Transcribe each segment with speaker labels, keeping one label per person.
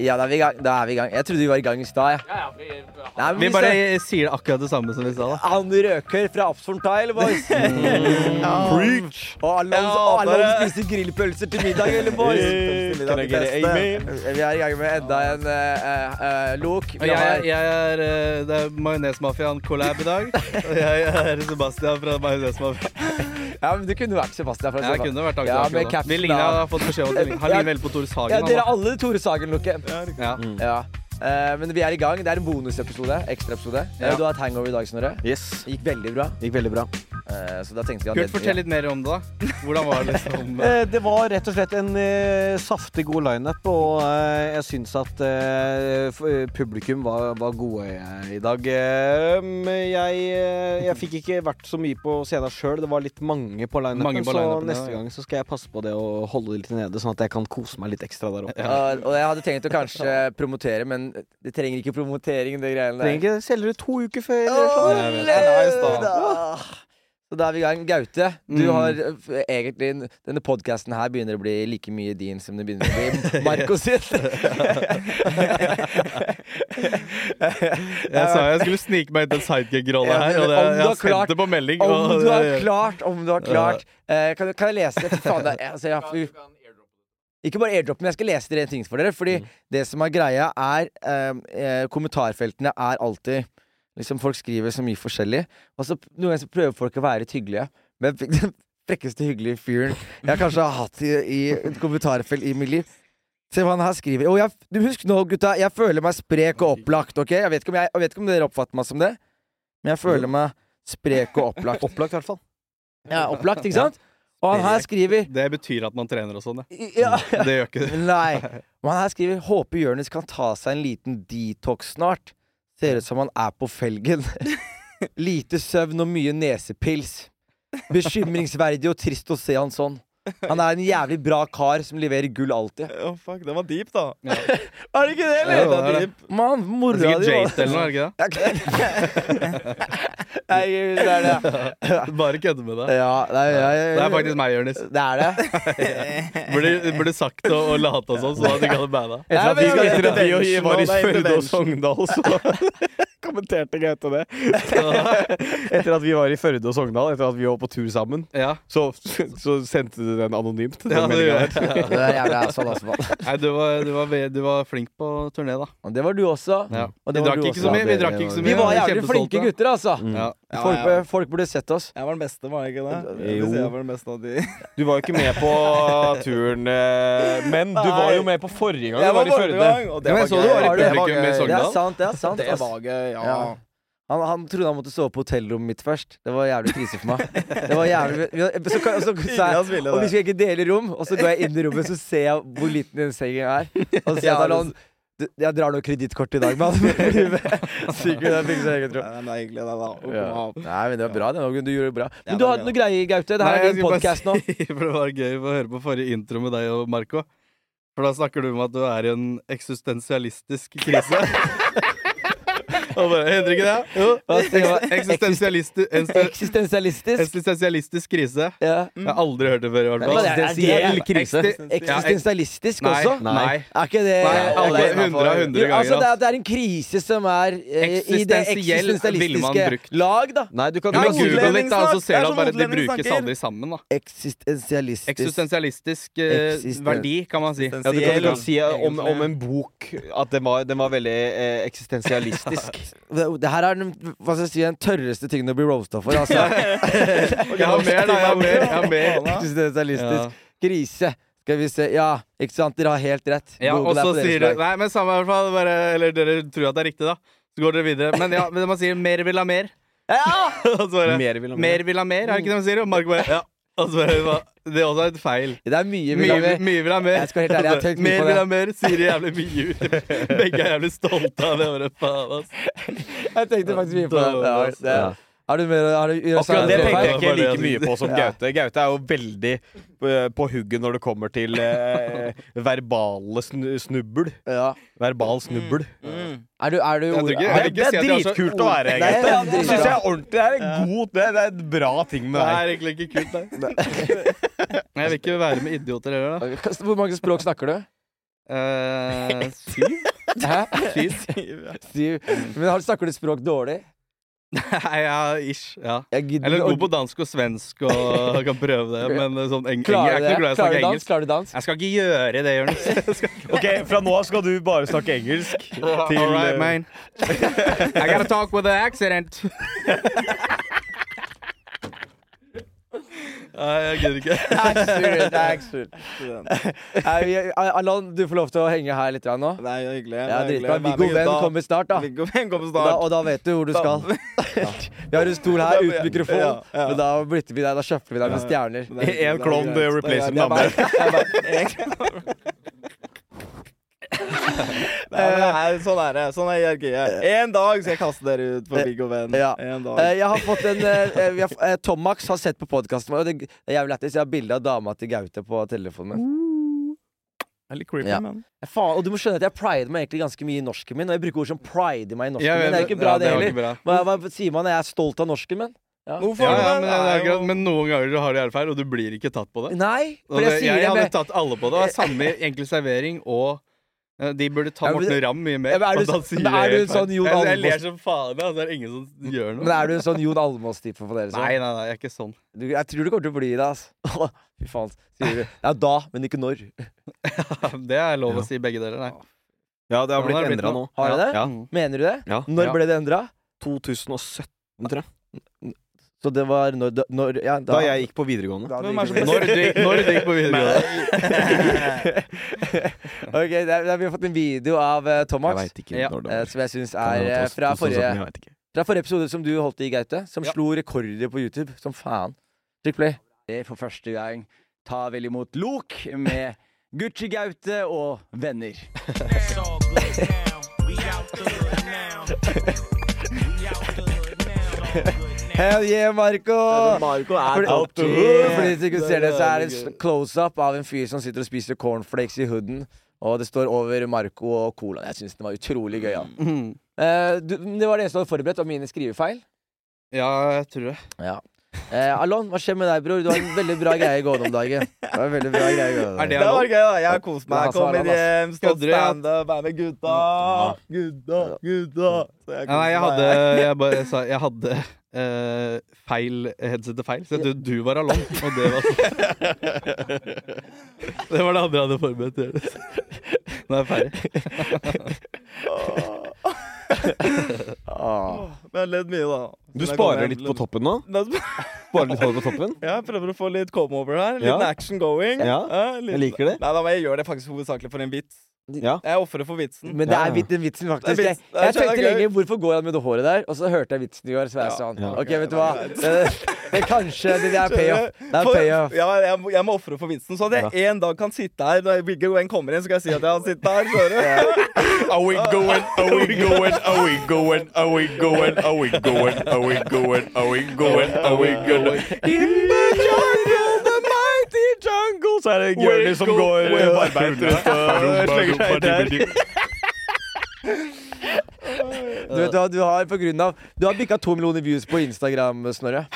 Speaker 1: Ja, da er vi i gang. Da er vi i gang. Jeg trodde vi var i gang i stad. Ja. Nei, men
Speaker 2: Vi
Speaker 1: vi
Speaker 2: bare
Speaker 1: sa-
Speaker 2: sier akkurat det samme som vi sa, da.
Speaker 1: Han røker fra Absford Tile, boys.
Speaker 2: Preach!
Speaker 1: Og alle
Speaker 2: Ja,
Speaker 1: alle
Speaker 2: dere.
Speaker 1: spiser grillpølser til middag, eller, boys?
Speaker 2: Yeah. Can I get an amen?
Speaker 1: eh. Vi er i gang med enda en eh, eh, lok. Vi
Speaker 2: Og jeg,
Speaker 1: har-
Speaker 2: jeg er eh, Det er Majonesmafiaen collab i dag. Og jeg er Sebastian fra Majonesmafiaen.
Speaker 1: Ja, men du kunne vært Sebastian. fra
Speaker 2: Jeg kunne vært
Speaker 1: Ja, men
Speaker 2: Agder Akkurat. Vi
Speaker 1: captain
Speaker 2: ligner,
Speaker 1: av-
Speaker 2: jeg har fått beskjed om at vi ligner. Han ligner veldig på
Speaker 1: Ja,
Speaker 2: Tore Sagen.
Speaker 1: dere Mm. er
Speaker 2: han,
Speaker 1: alle Tore Sagen-looket.
Speaker 2: da. Ja.
Speaker 1: Ja. Eh, men vi er i gang. Det er en bonusepisode. Ekstraepisode. Eh,
Speaker 2: Ja.
Speaker 1: Du har hatt hangover i dag, Snorre.
Speaker 3: Yes.
Speaker 1: Gikk veldig bra.
Speaker 3: Gikk veldig bra.
Speaker 1: Eh, så da tenkte vi
Speaker 2: Kurt, fortell litt mer om det, da. Hvordan var det liksom eh,
Speaker 3: Eh, Det var rett og slett en eh, saftig god lineup, og eh, jeg syns at eh, f- eh, publikum var, var gode eh, i dag. Eh, mm, Jeg, eh, jeg fikk ikke vært så mye på scenen sjøl, det var litt mange på
Speaker 2: Mange
Speaker 3: lineupen,
Speaker 2: på
Speaker 3: så
Speaker 2: lineupen, ja,
Speaker 3: neste
Speaker 2: ja.
Speaker 3: gang så skal jeg passe på det og holde det litt nede, sånn at jeg kan kose meg litt ekstra der oppe.
Speaker 1: Og, og jeg hadde tenkt å kanskje promotere, men det trenger ikke promotering, det greiene
Speaker 3: Trenger
Speaker 1: der.
Speaker 3: ikke selger det to uker før. eller
Speaker 1: Å,
Speaker 3: sånn.
Speaker 2: Jeg vet.
Speaker 1: løv,
Speaker 2: Nice, da.
Speaker 1: da. Så da er vi i gang. Gaute, du
Speaker 2: Mm.
Speaker 1: har eh, f- egentlig Denne podkasten her begynner å bli like mye din som det begynner å bli Marco sitt.
Speaker 2: Jeg sa jeg skulle snike meg inn til en sidekick-rolle
Speaker 1: Ja, men
Speaker 2: her, og det,
Speaker 1: om du
Speaker 2: jeg
Speaker 1: har
Speaker 2: har
Speaker 1: klart-
Speaker 2: sendt det på melding.
Speaker 1: Om
Speaker 2: og-
Speaker 1: du har klart, om du har klart. Eh, kan, kan jeg lese? Fy faen, det er, altså, jeg, har- Ikke bare airdrop, men jeg skal lese dere en ting for dere. Fordi
Speaker 2: Mm.
Speaker 1: det som er greia, er ehm, eh, Kommentarfeltene er alltid Liksom Folk skriver så mye forskjellig, og så p- noen ganger så prøver folk å være litt hyggelige. Men jeg fikk den frekkeste hyggelige fyren jeg kanskje har hatt i, i et kommentarfelt i mitt liv. Se hva han her skriver. Oh, jeg, du husk nå, gutta, jeg føler meg sprek og opplagt. Ok, Jeg vet ikke om, jeg, jeg vet ikke om dere oppfatter meg som det, men jeg føler meg sprek og opplagt.
Speaker 3: Opplagt, i hvert fall.
Speaker 1: Ja, opplagt, ikke sant? Og han her skriver
Speaker 2: Det betyr at man trener og sånn, ja.
Speaker 1: ja,
Speaker 2: Det gjør ikke det.
Speaker 1: Nei. Men han her skriver 'Håper Jonis kan ta seg en liten detox snart'. Ser ut som han er på felgen. Lite søvn og mye nesepils. Bekymringsverdig og trist å se han sånn. Han er en jævlig bra kar som leverer gull alltid.
Speaker 4: Å, fuck, den var deep, da.
Speaker 1: Er det ikke det,
Speaker 2: Ja, det
Speaker 1: eller?
Speaker 2: er det.
Speaker 1: Mann, mora
Speaker 2: Det er sikkert
Speaker 1: di var-
Speaker 2: Jate eller noe, er det ikke
Speaker 1: Nei, det er det.
Speaker 2: det? Bare kødde med det.
Speaker 1: Ja, det er,
Speaker 2: Det er faktisk meg, Jonis.
Speaker 1: Det er det.
Speaker 2: Burde, burde sagt det og lata sånn, så hadde ikke hadde bada.
Speaker 1: Etter at vi skal
Speaker 3: Etter at vi
Speaker 4: Intervention, det
Speaker 3: var i
Speaker 4: er
Speaker 3: Førde og
Speaker 4: intervention.
Speaker 3: Sogndal, så kommenterte Gaute det. Etter at vi var i Førde og Sogndal, etter at vi var på tur sammen,
Speaker 2: Ja. sånn
Speaker 3: så, så sendte du den anonymt. Den
Speaker 2: Ja, det
Speaker 3: meldingen
Speaker 2: gjør
Speaker 3: der.
Speaker 2: jeg.
Speaker 1: Det er jævlig asfalt, altså, mann.
Speaker 2: Nei, du var, du, var, ve- du var flink på turné, da.
Speaker 1: Og det var du også.
Speaker 2: Ja.
Speaker 1: Og det
Speaker 2: Vi
Speaker 1: var
Speaker 2: drakk
Speaker 1: du
Speaker 2: ikke
Speaker 1: også.
Speaker 2: så mye. Vi drakk ikke så mye
Speaker 1: Vi var
Speaker 2: men
Speaker 1: jævlig
Speaker 2: kjempestolte. Mm.
Speaker 1: flinke gutter, altså.
Speaker 2: Ja.
Speaker 4: Ja,
Speaker 1: Folk,
Speaker 4: ja, ja.
Speaker 1: folk burde sett oss.
Speaker 4: Jeg var den beste, var jeg ikke det?
Speaker 3: Eh, jo.
Speaker 4: Jeg var den beste av de.
Speaker 3: Du var jo ikke med på turen, eh, men du var jo med på forrige gang du var i Førde.
Speaker 4: og
Speaker 2: Ja,
Speaker 4: det
Speaker 2: men
Speaker 4: var
Speaker 2: jeg så du var i
Speaker 4: gøy.
Speaker 1: Det var
Speaker 2: publikum i
Speaker 3: gøy.
Speaker 1: Det er
Speaker 2: Sogndal.
Speaker 1: sant, det er sant.
Speaker 4: Det
Speaker 1: ass.
Speaker 4: var gøy, ja.
Speaker 1: Ja. Han, han trodde han måtte sove på hotellrommet mitt først. Det var jævlig krise for meg. Det var jævlig vi- vi- Så, så, så,
Speaker 4: Ingen
Speaker 1: sa
Speaker 4: av
Speaker 1: jeg
Speaker 4: oss ville
Speaker 1: Og vi
Speaker 4: det.
Speaker 1: skal ikke dele rom, og så går jeg inn i rommet, så ser jeg hvor liten den sengen er. Og så sier jeg til han «Du, Jeg drar noe kredittkort i dag, mann. Sikkert jeg fikk så egen tro.
Speaker 4: Ja, men det er hyggelig, det, da. Å komme
Speaker 1: Ja.
Speaker 4: opp.
Speaker 1: Nei, men det var bra, det. Norge. Du gjorde det bra. Men
Speaker 4: Ja,
Speaker 1: du
Speaker 4: det var
Speaker 1: hadde noe greie, Gaute. Det her
Speaker 2: Nei,
Speaker 1: er
Speaker 2: jeg
Speaker 1: din
Speaker 2: skulle bare
Speaker 1: podkast nå.
Speaker 2: si- For det var gøy å høre på forrige intro med deg og Marco. For da snakker du om at du er i en eksistensialistisk krise. og bare, Heter det ikke det? Jo.
Speaker 1: Hva sier man?
Speaker 2: Eksistensialisti- ens-
Speaker 1: Eksistensialistisk.
Speaker 2: Eksistensialistisk krise.
Speaker 1: Ja.
Speaker 2: Jeg har aldri hørt det før, i hvert
Speaker 1: Men
Speaker 2: fall.
Speaker 1: det er-
Speaker 3: Eksistensiell Altså, krise.
Speaker 2: Eksti- ja, eks-
Speaker 1: Eksistensialistisk
Speaker 2: Nei.
Speaker 1: også?
Speaker 2: Nei.
Speaker 1: Er ikke det
Speaker 2: Nei, alle
Speaker 1: det er innenfor.
Speaker 2: 100 av 100
Speaker 1: Jo, Altså, det,
Speaker 2: ganger,
Speaker 1: er,
Speaker 2: ass.
Speaker 1: det er en krise som er eh, i det
Speaker 2: Eksistensiell ville man brukt.
Speaker 1: eksistensialistiske lag, da.
Speaker 3: Nei, du kan
Speaker 2: Ja, men
Speaker 3: ikke
Speaker 4: Google
Speaker 2: Google
Speaker 4: det.
Speaker 2: litt, da, så
Speaker 4: Det
Speaker 2: ser
Speaker 4: er
Speaker 2: du at
Speaker 4: sånn
Speaker 2: bare det
Speaker 4: utlendinger
Speaker 2: brukes
Speaker 4: snakker.
Speaker 2: aldri sammen. da
Speaker 1: Eksistensialistisk.
Speaker 2: Eksistensialistisk eh,
Speaker 1: Eksisten-
Speaker 2: verdi, kan man si.
Speaker 3: ja, du kan, du kan si eh, om,
Speaker 2: Egentlig.
Speaker 3: om en bok at den var, den var veldig eh, eksistensialistisk.
Speaker 1: Det, det her er den, hva skal jeg si, den tørreste tingen å bli roasta for. Altså.
Speaker 2: Jeg har mer, da. Jeg har mer. Jeg har mer.
Speaker 1: eksistensialistisk krise. Skal vi se Ja, ikke sant? Dere har helt rett.
Speaker 2: Ja, og
Speaker 1: Google er
Speaker 2: så
Speaker 1: på deres
Speaker 2: sier du
Speaker 1: lag.
Speaker 2: Nei, men samme i hvert fall. Bare, eller dere tror at det er riktig, da. Så går dere videre. Men ja, men man sier 'mer vil ha mer'. og så bare,
Speaker 3: Mer vil ha mer.
Speaker 2: mer vil ha mer, er det ikke det man sier? Og Marco bare ja. Og så bare, hva? Det er også en feil.
Speaker 1: Det er mye vi
Speaker 2: Mye,
Speaker 1: lager.
Speaker 2: mye vil ha mer.
Speaker 1: Jeg skal være helt ærlig, jeg har tenkt mye
Speaker 2: mer
Speaker 1: på det.
Speaker 2: vil ha mer, sier det jævlig mye ut. Begge er jævlig stolte av det. Bare, faen, ass.
Speaker 1: Jeg tenkte faktisk mye på det.
Speaker 2: Døde,
Speaker 1: Ja,
Speaker 2: ass.
Speaker 1: det. Er du med? Er du,
Speaker 3: Akkurat det
Speaker 2: det
Speaker 3: tenker jeg
Speaker 2: var
Speaker 3: ikke
Speaker 2: bare
Speaker 3: like
Speaker 2: det
Speaker 3: mye
Speaker 2: jeg
Speaker 3: på som Gaute. Gaute er jo veldig eh, på hugget når det kommer til eh, verbale snu snubbel.
Speaker 1: Ja.
Speaker 3: Verbal snubbel.
Speaker 2: Mm.
Speaker 1: Er du, er du
Speaker 2: Jeg tror
Speaker 1: er-
Speaker 2: ikke- jeg vil ikke
Speaker 3: Det, det
Speaker 2: si
Speaker 3: er
Speaker 2: at jeg har så
Speaker 3: dritkult å
Speaker 2: ord-
Speaker 3: være
Speaker 1: Nei,
Speaker 3: Gaute.
Speaker 1: det er
Speaker 3: Det syns
Speaker 1: dritbra.
Speaker 3: jeg er ordentlig det er en god det, det er en bra ting med
Speaker 2: Det
Speaker 3: deg.
Speaker 2: er egentlig ikke kult, nei. Jeg vil ikke være med idioter heller, da.
Speaker 1: Hvor mange språk snakker du?
Speaker 2: Eh, syv?
Speaker 1: Hæ?
Speaker 2: Syv?
Speaker 1: Siv. Men har- snakker du språk dårlig?
Speaker 2: Nei, ja, ish. Ja.
Speaker 1: Jeg gidder
Speaker 2: Eller
Speaker 1: å-
Speaker 2: god på dansk og svensk og kan prøve det, men eh, sånn eng
Speaker 1: Klarer
Speaker 2: jeg er
Speaker 1: du
Speaker 2: ikke noe glad
Speaker 1: det?
Speaker 2: i å snakke
Speaker 1: Klarer du dans?
Speaker 2: engelsk.
Speaker 1: Klarer du dans?
Speaker 2: Jeg skal ikke gjøre det, Jonis.
Speaker 3: Ok, Fra nå av skal du bare snakke engelsk. Til,
Speaker 2: All right,
Speaker 3: eh,
Speaker 2: man. I gotta talk with an accident. Nei, jeg gidder ikke.
Speaker 1: Excellent, excellent.
Speaker 4: Student.
Speaker 1: Nei, vi- Allan, du får lov til å henge her litt grann nå.
Speaker 4: Det er jo hyggelig.
Speaker 1: Ja,
Speaker 4: det er
Speaker 1: dritbra.
Speaker 4: hyggelig.
Speaker 1: Viggo Venn kommer snart, da.
Speaker 4: Viggo Venn kommer
Speaker 1: Og da,
Speaker 4: snart.
Speaker 1: og da vet du hvor du skal. Vi har en stol her uten mikrofon,
Speaker 4: Ja, ja.
Speaker 1: men da bytter vi deg. Da kjøpte vi deg med stjerner.
Speaker 4: Det er hyggelig, det
Speaker 3: En
Speaker 4: er
Speaker 3: klovn
Speaker 2: eh,
Speaker 4: greit.
Speaker 3: replacer
Speaker 4: Det
Speaker 3: den
Speaker 4: er greit.
Speaker 3: andre.
Speaker 4: Nei, men det
Speaker 2: Eh.
Speaker 4: er, sånn er det. Sånn er hierarkiet. En dag skal jeg kaste dere ut
Speaker 2: Eh.
Speaker 4: for Viggo Venn.
Speaker 1: Ja.
Speaker 4: En
Speaker 1: Eh,
Speaker 4: dag.
Speaker 1: Jeg har fått en eh, vi har, f- eh, Tom Max har sett på podkasten vår, og det det er jævlig lættis. Jeg har bilde av dama til Gaute på telefonen min.
Speaker 4: Det er litt creepy,
Speaker 1: Ja.
Speaker 4: men
Speaker 1: Faen, og du må skjønne at jeg prider meg egentlig ganske mye i norsken min, og jeg bruker ord som pride meg i norsken
Speaker 2: Jeg
Speaker 1: min. Det er
Speaker 2: vet-
Speaker 1: jo ikke bra,
Speaker 2: ja,
Speaker 1: det
Speaker 2: var
Speaker 1: heller.
Speaker 2: ikke bra.
Speaker 1: Hva, hva sier man? Jeg er stolt av norsken min?
Speaker 4: Hvorfor
Speaker 2: Ja, ja,
Speaker 4: det?
Speaker 2: men, det er
Speaker 4: jo-
Speaker 2: greit, men noen ganger så har du feil, og du blir ikke tatt på det.
Speaker 1: Nei,
Speaker 2: Og
Speaker 1: for jeg
Speaker 2: det,
Speaker 1: sier
Speaker 2: jeg,
Speaker 1: det
Speaker 2: hadde
Speaker 1: med
Speaker 2: tatt alle på det. og Samme i enkel servering og eh, De burde ta
Speaker 1: Ja, men-
Speaker 2: Morten Ramm mye mer.
Speaker 1: Ja, men er
Speaker 2: for
Speaker 1: du
Speaker 2: at han
Speaker 1: så-
Speaker 2: sier
Speaker 1: men er
Speaker 2: det
Speaker 1: du
Speaker 2: helt
Speaker 1: en sånn
Speaker 2: feil.
Speaker 1: Jon
Speaker 2: Jeg, jeg
Speaker 1: Almås-
Speaker 2: ler som faen, altså. Det er ingen som gjør
Speaker 1: Men
Speaker 2: noe.
Speaker 1: er du en sånn Jon Almaas-type for dere? så?
Speaker 2: Nei, nei, nei, jeg er ikke sånn.
Speaker 1: Du, jeg tror du kommer til å bli det, altså. Fy faen. Sier du. Ja, da, men ikke når.
Speaker 2: Det er lov å si begge deler, nei.
Speaker 3: Ja, det
Speaker 2: Nå har
Speaker 3: har blitt
Speaker 2: det blitt
Speaker 3: endra nå.
Speaker 2: noe.
Speaker 1: Har du det? Mm.
Speaker 3: Ja.
Speaker 1: Mener du det?
Speaker 3: Ja.
Speaker 1: Når
Speaker 2: Ja.
Speaker 1: ble det endra?
Speaker 3: 2017, tror jeg.
Speaker 1: Så det var når, da- når ja,
Speaker 3: Da jeg gikk på videregående.
Speaker 1: da det
Speaker 4: Hvem er
Speaker 1: gikk
Speaker 4: som
Speaker 1: over.
Speaker 4: ble-
Speaker 2: Når du, når du gikk på videregående.
Speaker 1: Ok, der, der, Vi har fått en video av uh,
Speaker 3: Jeg
Speaker 1: Thomas.
Speaker 3: veit ikke
Speaker 2: Ja.
Speaker 3: når det
Speaker 1: eh,
Speaker 3: var.
Speaker 1: som jeg syns
Speaker 3: Kan
Speaker 1: er
Speaker 3: det
Speaker 1: eh,
Speaker 3: være
Speaker 1: fra,
Speaker 3: 2017?
Speaker 1: forrige,
Speaker 3: Jeg vet ikke.
Speaker 1: fra forrige episode som du holdt i, Gaute. Som
Speaker 2: Ja.
Speaker 1: slo rekorder på YouTube. Som faen. Trykk play. For første gang ta vel imot Lok med Gucci Gaute og venner.
Speaker 5: It's all good now. We out the hood now. We out the hood now. It's all good now.
Speaker 1: Hell yeah, Marco!
Speaker 4: Marco er
Speaker 1: Fordi,
Speaker 4: tatt
Speaker 1: for de som ikke ser det, så er det
Speaker 4: Det er
Speaker 1: en close-up av en fyr som sitter og spiser cornflakes i hooden. Og det står over Marco og Cola. Jeg syns den var utrolig gøy. Ja. Eh, du, men det var det eneste du hadde forberedt, var mine skrivefeil.
Speaker 2: Ja, jeg tror det.
Speaker 1: Ja. Eh, Alon, hva skjer med deg, bror? Du har en veldig bra greie gående om dagen. Det var en veldig bra greie gående om
Speaker 2: Er
Speaker 1: dagen.
Speaker 2: det
Speaker 4: Det var
Speaker 2: lov?
Speaker 4: gøy, da. Jeg har kost meg.
Speaker 1: Ja,
Speaker 4: Jeg Kom
Speaker 1: svarer
Speaker 4: inn
Speaker 1: han, ass.
Speaker 4: hjem, stått
Speaker 2: Kødder du, ja?
Speaker 4: standup, er med
Speaker 2: Mm.
Speaker 4: gutta. Gutta, gutta. Så jeg
Speaker 2: Ja, nei, jeg
Speaker 4: koser
Speaker 2: hadde,
Speaker 4: meg.
Speaker 2: jeg bare, sa, jeg hadde eh, feil headsetet feil. Så jeg trodde du var Alon, og det var sånn. Det var det andre jeg hadde forberedt til. Jonas. Nå er jeg ferdig.
Speaker 1: Ah.
Speaker 4: Men jeg har ledd mye, da.
Speaker 3: Du
Speaker 4: Men jeg kommer
Speaker 3: sparer
Speaker 4: hjem
Speaker 3: litt på toppen nå?
Speaker 4: Nei, sp-
Speaker 3: Sparer litt hår på toppen?
Speaker 4: Ja, jeg prøver å få litt come over her. Litt
Speaker 3: Ja.
Speaker 4: action going.
Speaker 3: Ja,
Speaker 4: litt-
Speaker 3: jeg liker det.
Speaker 4: Nei, da, men jeg gjør det faktisk hovedsakelig for en vits.
Speaker 3: Ja.
Speaker 4: Jeg ofrer for vitsen.
Speaker 1: Men det
Speaker 3: Ja,
Speaker 1: er
Speaker 3: ja.
Speaker 1: vit- den vitsen, faktisk.
Speaker 4: Det er
Speaker 1: Jeg,
Speaker 4: vits. Det er
Speaker 1: jeg
Speaker 4: kjempegøy.
Speaker 1: tenkte lenge hvorfor går han med det håret der, og så hørte jeg vitsen i går, så var jeg
Speaker 4: Ja.
Speaker 1: sånn
Speaker 3: Ja.
Speaker 1: OK, vet du hva. Det, det kanskje det er payoff. Det er
Speaker 4: eh, For-
Speaker 1: payoff.
Speaker 4: Ja, jeg, må- jeg må ofre for vitsen, så at jeg en dag kan sitte her når Viggo Wen kommer inn, så kan jeg si at jeg har sittet her. Skjønner du?
Speaker 6: Are we going? Are we going? Are we going? Are we going? Are we going? Are we going? Are we going? Are we going?
Speaker 3: Så er det Jonis som går eh, barbeint rundt og slenger seg i trær.
Speaker 1: Du vet hva, du har på grunn av Du har bikka to millioner views på Instagram, Snorre.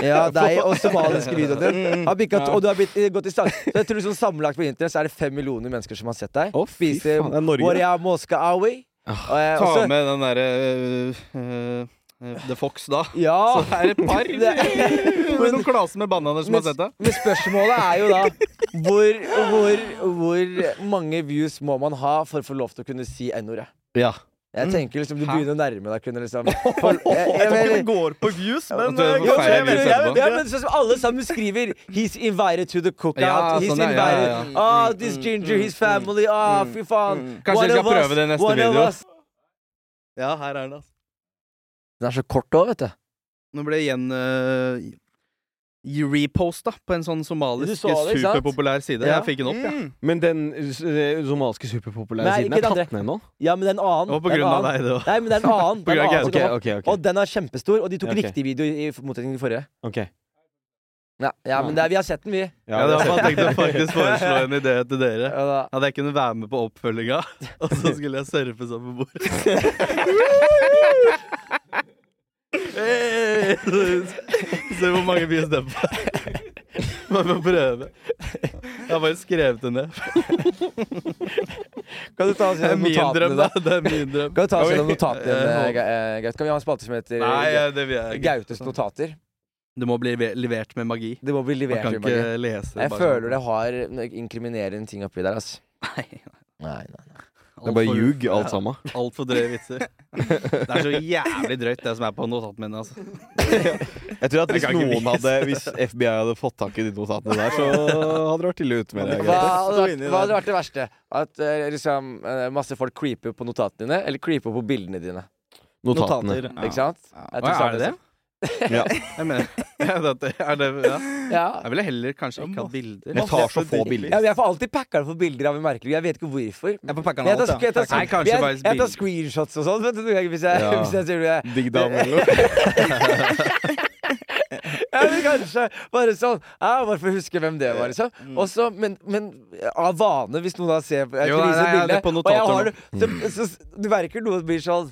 Speaker 1: Ja, deg og somaliske videoen din. Har bikket to, og du har blitt, eh, gått i stand. Så jeg tror sånn sammenlagt på internett så er det fem millioner mennesker som har sett deg.
Speaker 3: Å, fy
Speaker 1: Spise
Speaker 3: faen, det er Norge, det.
Speaker 1: Waria Mosca Awi. Og, eh,
Speaker 2: Ta
Speaker 1: også-
Speaker 2: med den derre eh, eh, The Fox, da.
Speaker 1: Ja.
Speaker 2: Det er et par med noen klaser med bananer som har sett det.
Speaker 1: Men spørsmålet er jo da hvor, hvor, hvor mange views må man ha for å få lov til å kunne si n-ordet?
Speaker 2: Ja.
Speaker 1: Jeg tenker liksom Du
Speaker 2: Hæ?
Speaker 1: begynner å nærme deg kunne liksom for, jeg, jeg,
Speaker 4: Jeg tror ikke
Speaker 1: mener-
Speaker 4: det går på views, men
Speaker 2: tror jeg
Speaker 4: eh,
Speaker 2: får
Speaker 4: kanskje jeg
Speaker 2: feire
Speaker 4: vet-
Speaker 2: views
Speaker 4: jeg
Speaker 2: etterpå.
Speaker 4: vet-
Speaker 1: Ja, men sånn som alle sammen skriver He's invited to the cookout
Speaker 2: Ja,
Speaker 1: He's
Speaker 2: sånn er- ja,
Speaker 1: invited
Speaker 2: ja, Mm,
Speaker 1: Ah, this ginger, his family Ah, fy faen
Speaker 2: Kanskje vi
Speaker 1: One
Speaker 2: skal
Speaker 1: of us,
Speaker 2: prøve det i neste
Speaker 1: one of
Speaker 2: video.
Speaker 1: us.
Speaker 2: ja, her er den, altså.
Speaker 1: Den er så kort også, vet du
Speaker 2: Nå ble jeg igjen eh,
Speaker 4: reposta på en sånn
Speaker 1: Du
Speaker 4: somalisk
Speaker 1: så det, ikke sant? Mm.
Speaker 4: superpopulær side.
Speaker 1: Ja.
Speaker 4: Jeg fikk den opp, jeg.
Speaker 3: Men den eh, somaliske superpopulære
Speaker 1: Nei,
Speaker 3: siden
Speaker 1: ikke
Speaker 3: er
Speaker 1: den
Speaker 3: tatt ned nå?
Speaker 1: Ja, men det er en annen.
Speaker 2: Og på
Speaker 1: Det er en
Speaker 2: grunn av
Speaker 1: annen.
Speaker 2: deg, det òg.
Speaker 1: Nei, men det er en annen. Det er en
Speaker 2: grunn av
Speaker 1: annen som
Speaker 3: Ok,
Speaker 1: kom.
Speaker 3: ok, ok.
Speaker 1: Og den er kjempestor, og de tok
Speaker 3: Ja, ok.
Speaker 1: riktig video i motsetning til forrige.
Speaker 3: ok.
Speaker 1: Ja, ja men det er, vi har sett den, vi.
Speaker 2: Ja, det var, jeg
Speaker 3: det-
Speaker 2: tenkte faktisk foreslå en idé til dere.
Speaker 1: Ja, da.
Speaker 2: At jeg kunne være med på oppfølginga, og så skulle jeg surfe sammen med bordet. Hey! Se hvor mange views den får. Man må prøve. Jeg har bare skrevet det ned.
Speaker 1: Kan du ta oss
Speaker 2: Det er
Speaker 1: gjennom
Speaker 2: min drøm,
Speaker 1: notatene?
Speaker 2: da.
Speaker 1: Da?
Speaker 2: Det er min drøm.
Speaker 1: Kan du ta oss
Speaker 2: Oi.
Speaker 1: gjennom notatene dine,
Speaker 2: Eh,
Speaker 1: Ga- eh, Gaute? Kan vi ha en spalte som heter
Speaker 2: Nei,
Speaker 1: eh,
Speaker 2: eh, det vil jeg ikke.
Speaker 1: Gautes notater?
Speaker 2: Det må bli ve- levert med magi.
Speaker 1: Det må bli
Speaker 2: Man
Speaker 1: levert.
Speaker 2: kan
Speaker 1: i morgen.
Speaker 2: ikke lese
Speaker 1: Jeg
Speaker 2: bare
Speaker 1: føler det
Speaker 2: sånn.
Speaker 1: har inkriminerende ting oppi der, ass. Nei, nei.
Speaker 3: Det er bare
Speaker 2: Altfor-
Speaker 3: ljug,
Speaker 2: Ja.
Speaker 3: alt sammen.
Speaker 2: Altfor drøye vitser. Det er så jævlig drøyt, det som er på notatene mine. Altså.
Speaker 3: Jeg tror at hvis
Speaker 2: Jeg kan ikke
Speaker 3: noen hadde Hvis FBI hadde fått tak i de notatene der, så hadde det vært ille ute med det.
Speaker 1: Hva hadde, vært, hva hadde vært det verste? At eh, liksom eh, masse folk creeper på notatene dine, eller creeper på bildene dine?
Speaker 3: Notatene.
Speaker 2: Ja.
Speaker 1: Ikke sant? Jeg tror
Speaker 2: Å,
Speaker 1: samme
Speaker 2: er det det?
Speaker 3: Ja.
Speaker 2: Jeg mener, ja, det, er det, ja.
Speaker 1: Ja.
Speaker 2: Jeg ville heller kanskje ikke hatt bilder.
Speaker 3: Jeg tar så få bilder.
Speaker 1: ja, men Jeg får alltid packa det for bilder av en merkelig Jeg vet ikke hvorfor.
Speaker 4: Jeg får packa den
Speaker 1: Jeg tar,
Speaker 4: alt, ja.
Speaker 1: jeg tar,
Speaker 2: Nei, kanskje
Speaker 1: jeg,
Speaker 2: bare
Speaker 1: jeg tar
Speaker 2: bilder.
Speaker 1: screenshots og sånn, vet du, hvis jeg,
Speaker 3: Ja.
Speaker 1: hvis jeg sier det.
Speaker 3: Digg dame eller noe.
Speaker 1: Ja, men kanskje bare sånn. Ja, bare for å huske hvem det var, liksom.
Speaker 2: Mm.
Speaker 1: Og så, men, men av vane, hvis noen da ser Jeg skal
Speaker 2: Jo, nei,
Speaker 1: vise
Speaker 2: nei, jeg hadde
Speaker 1: bildet,
Speaker 2: på
Speaker 1: og jeg
Speaker 2: notater Mm.
Speaker 1: har det, så, så, så du merker noe blir sånn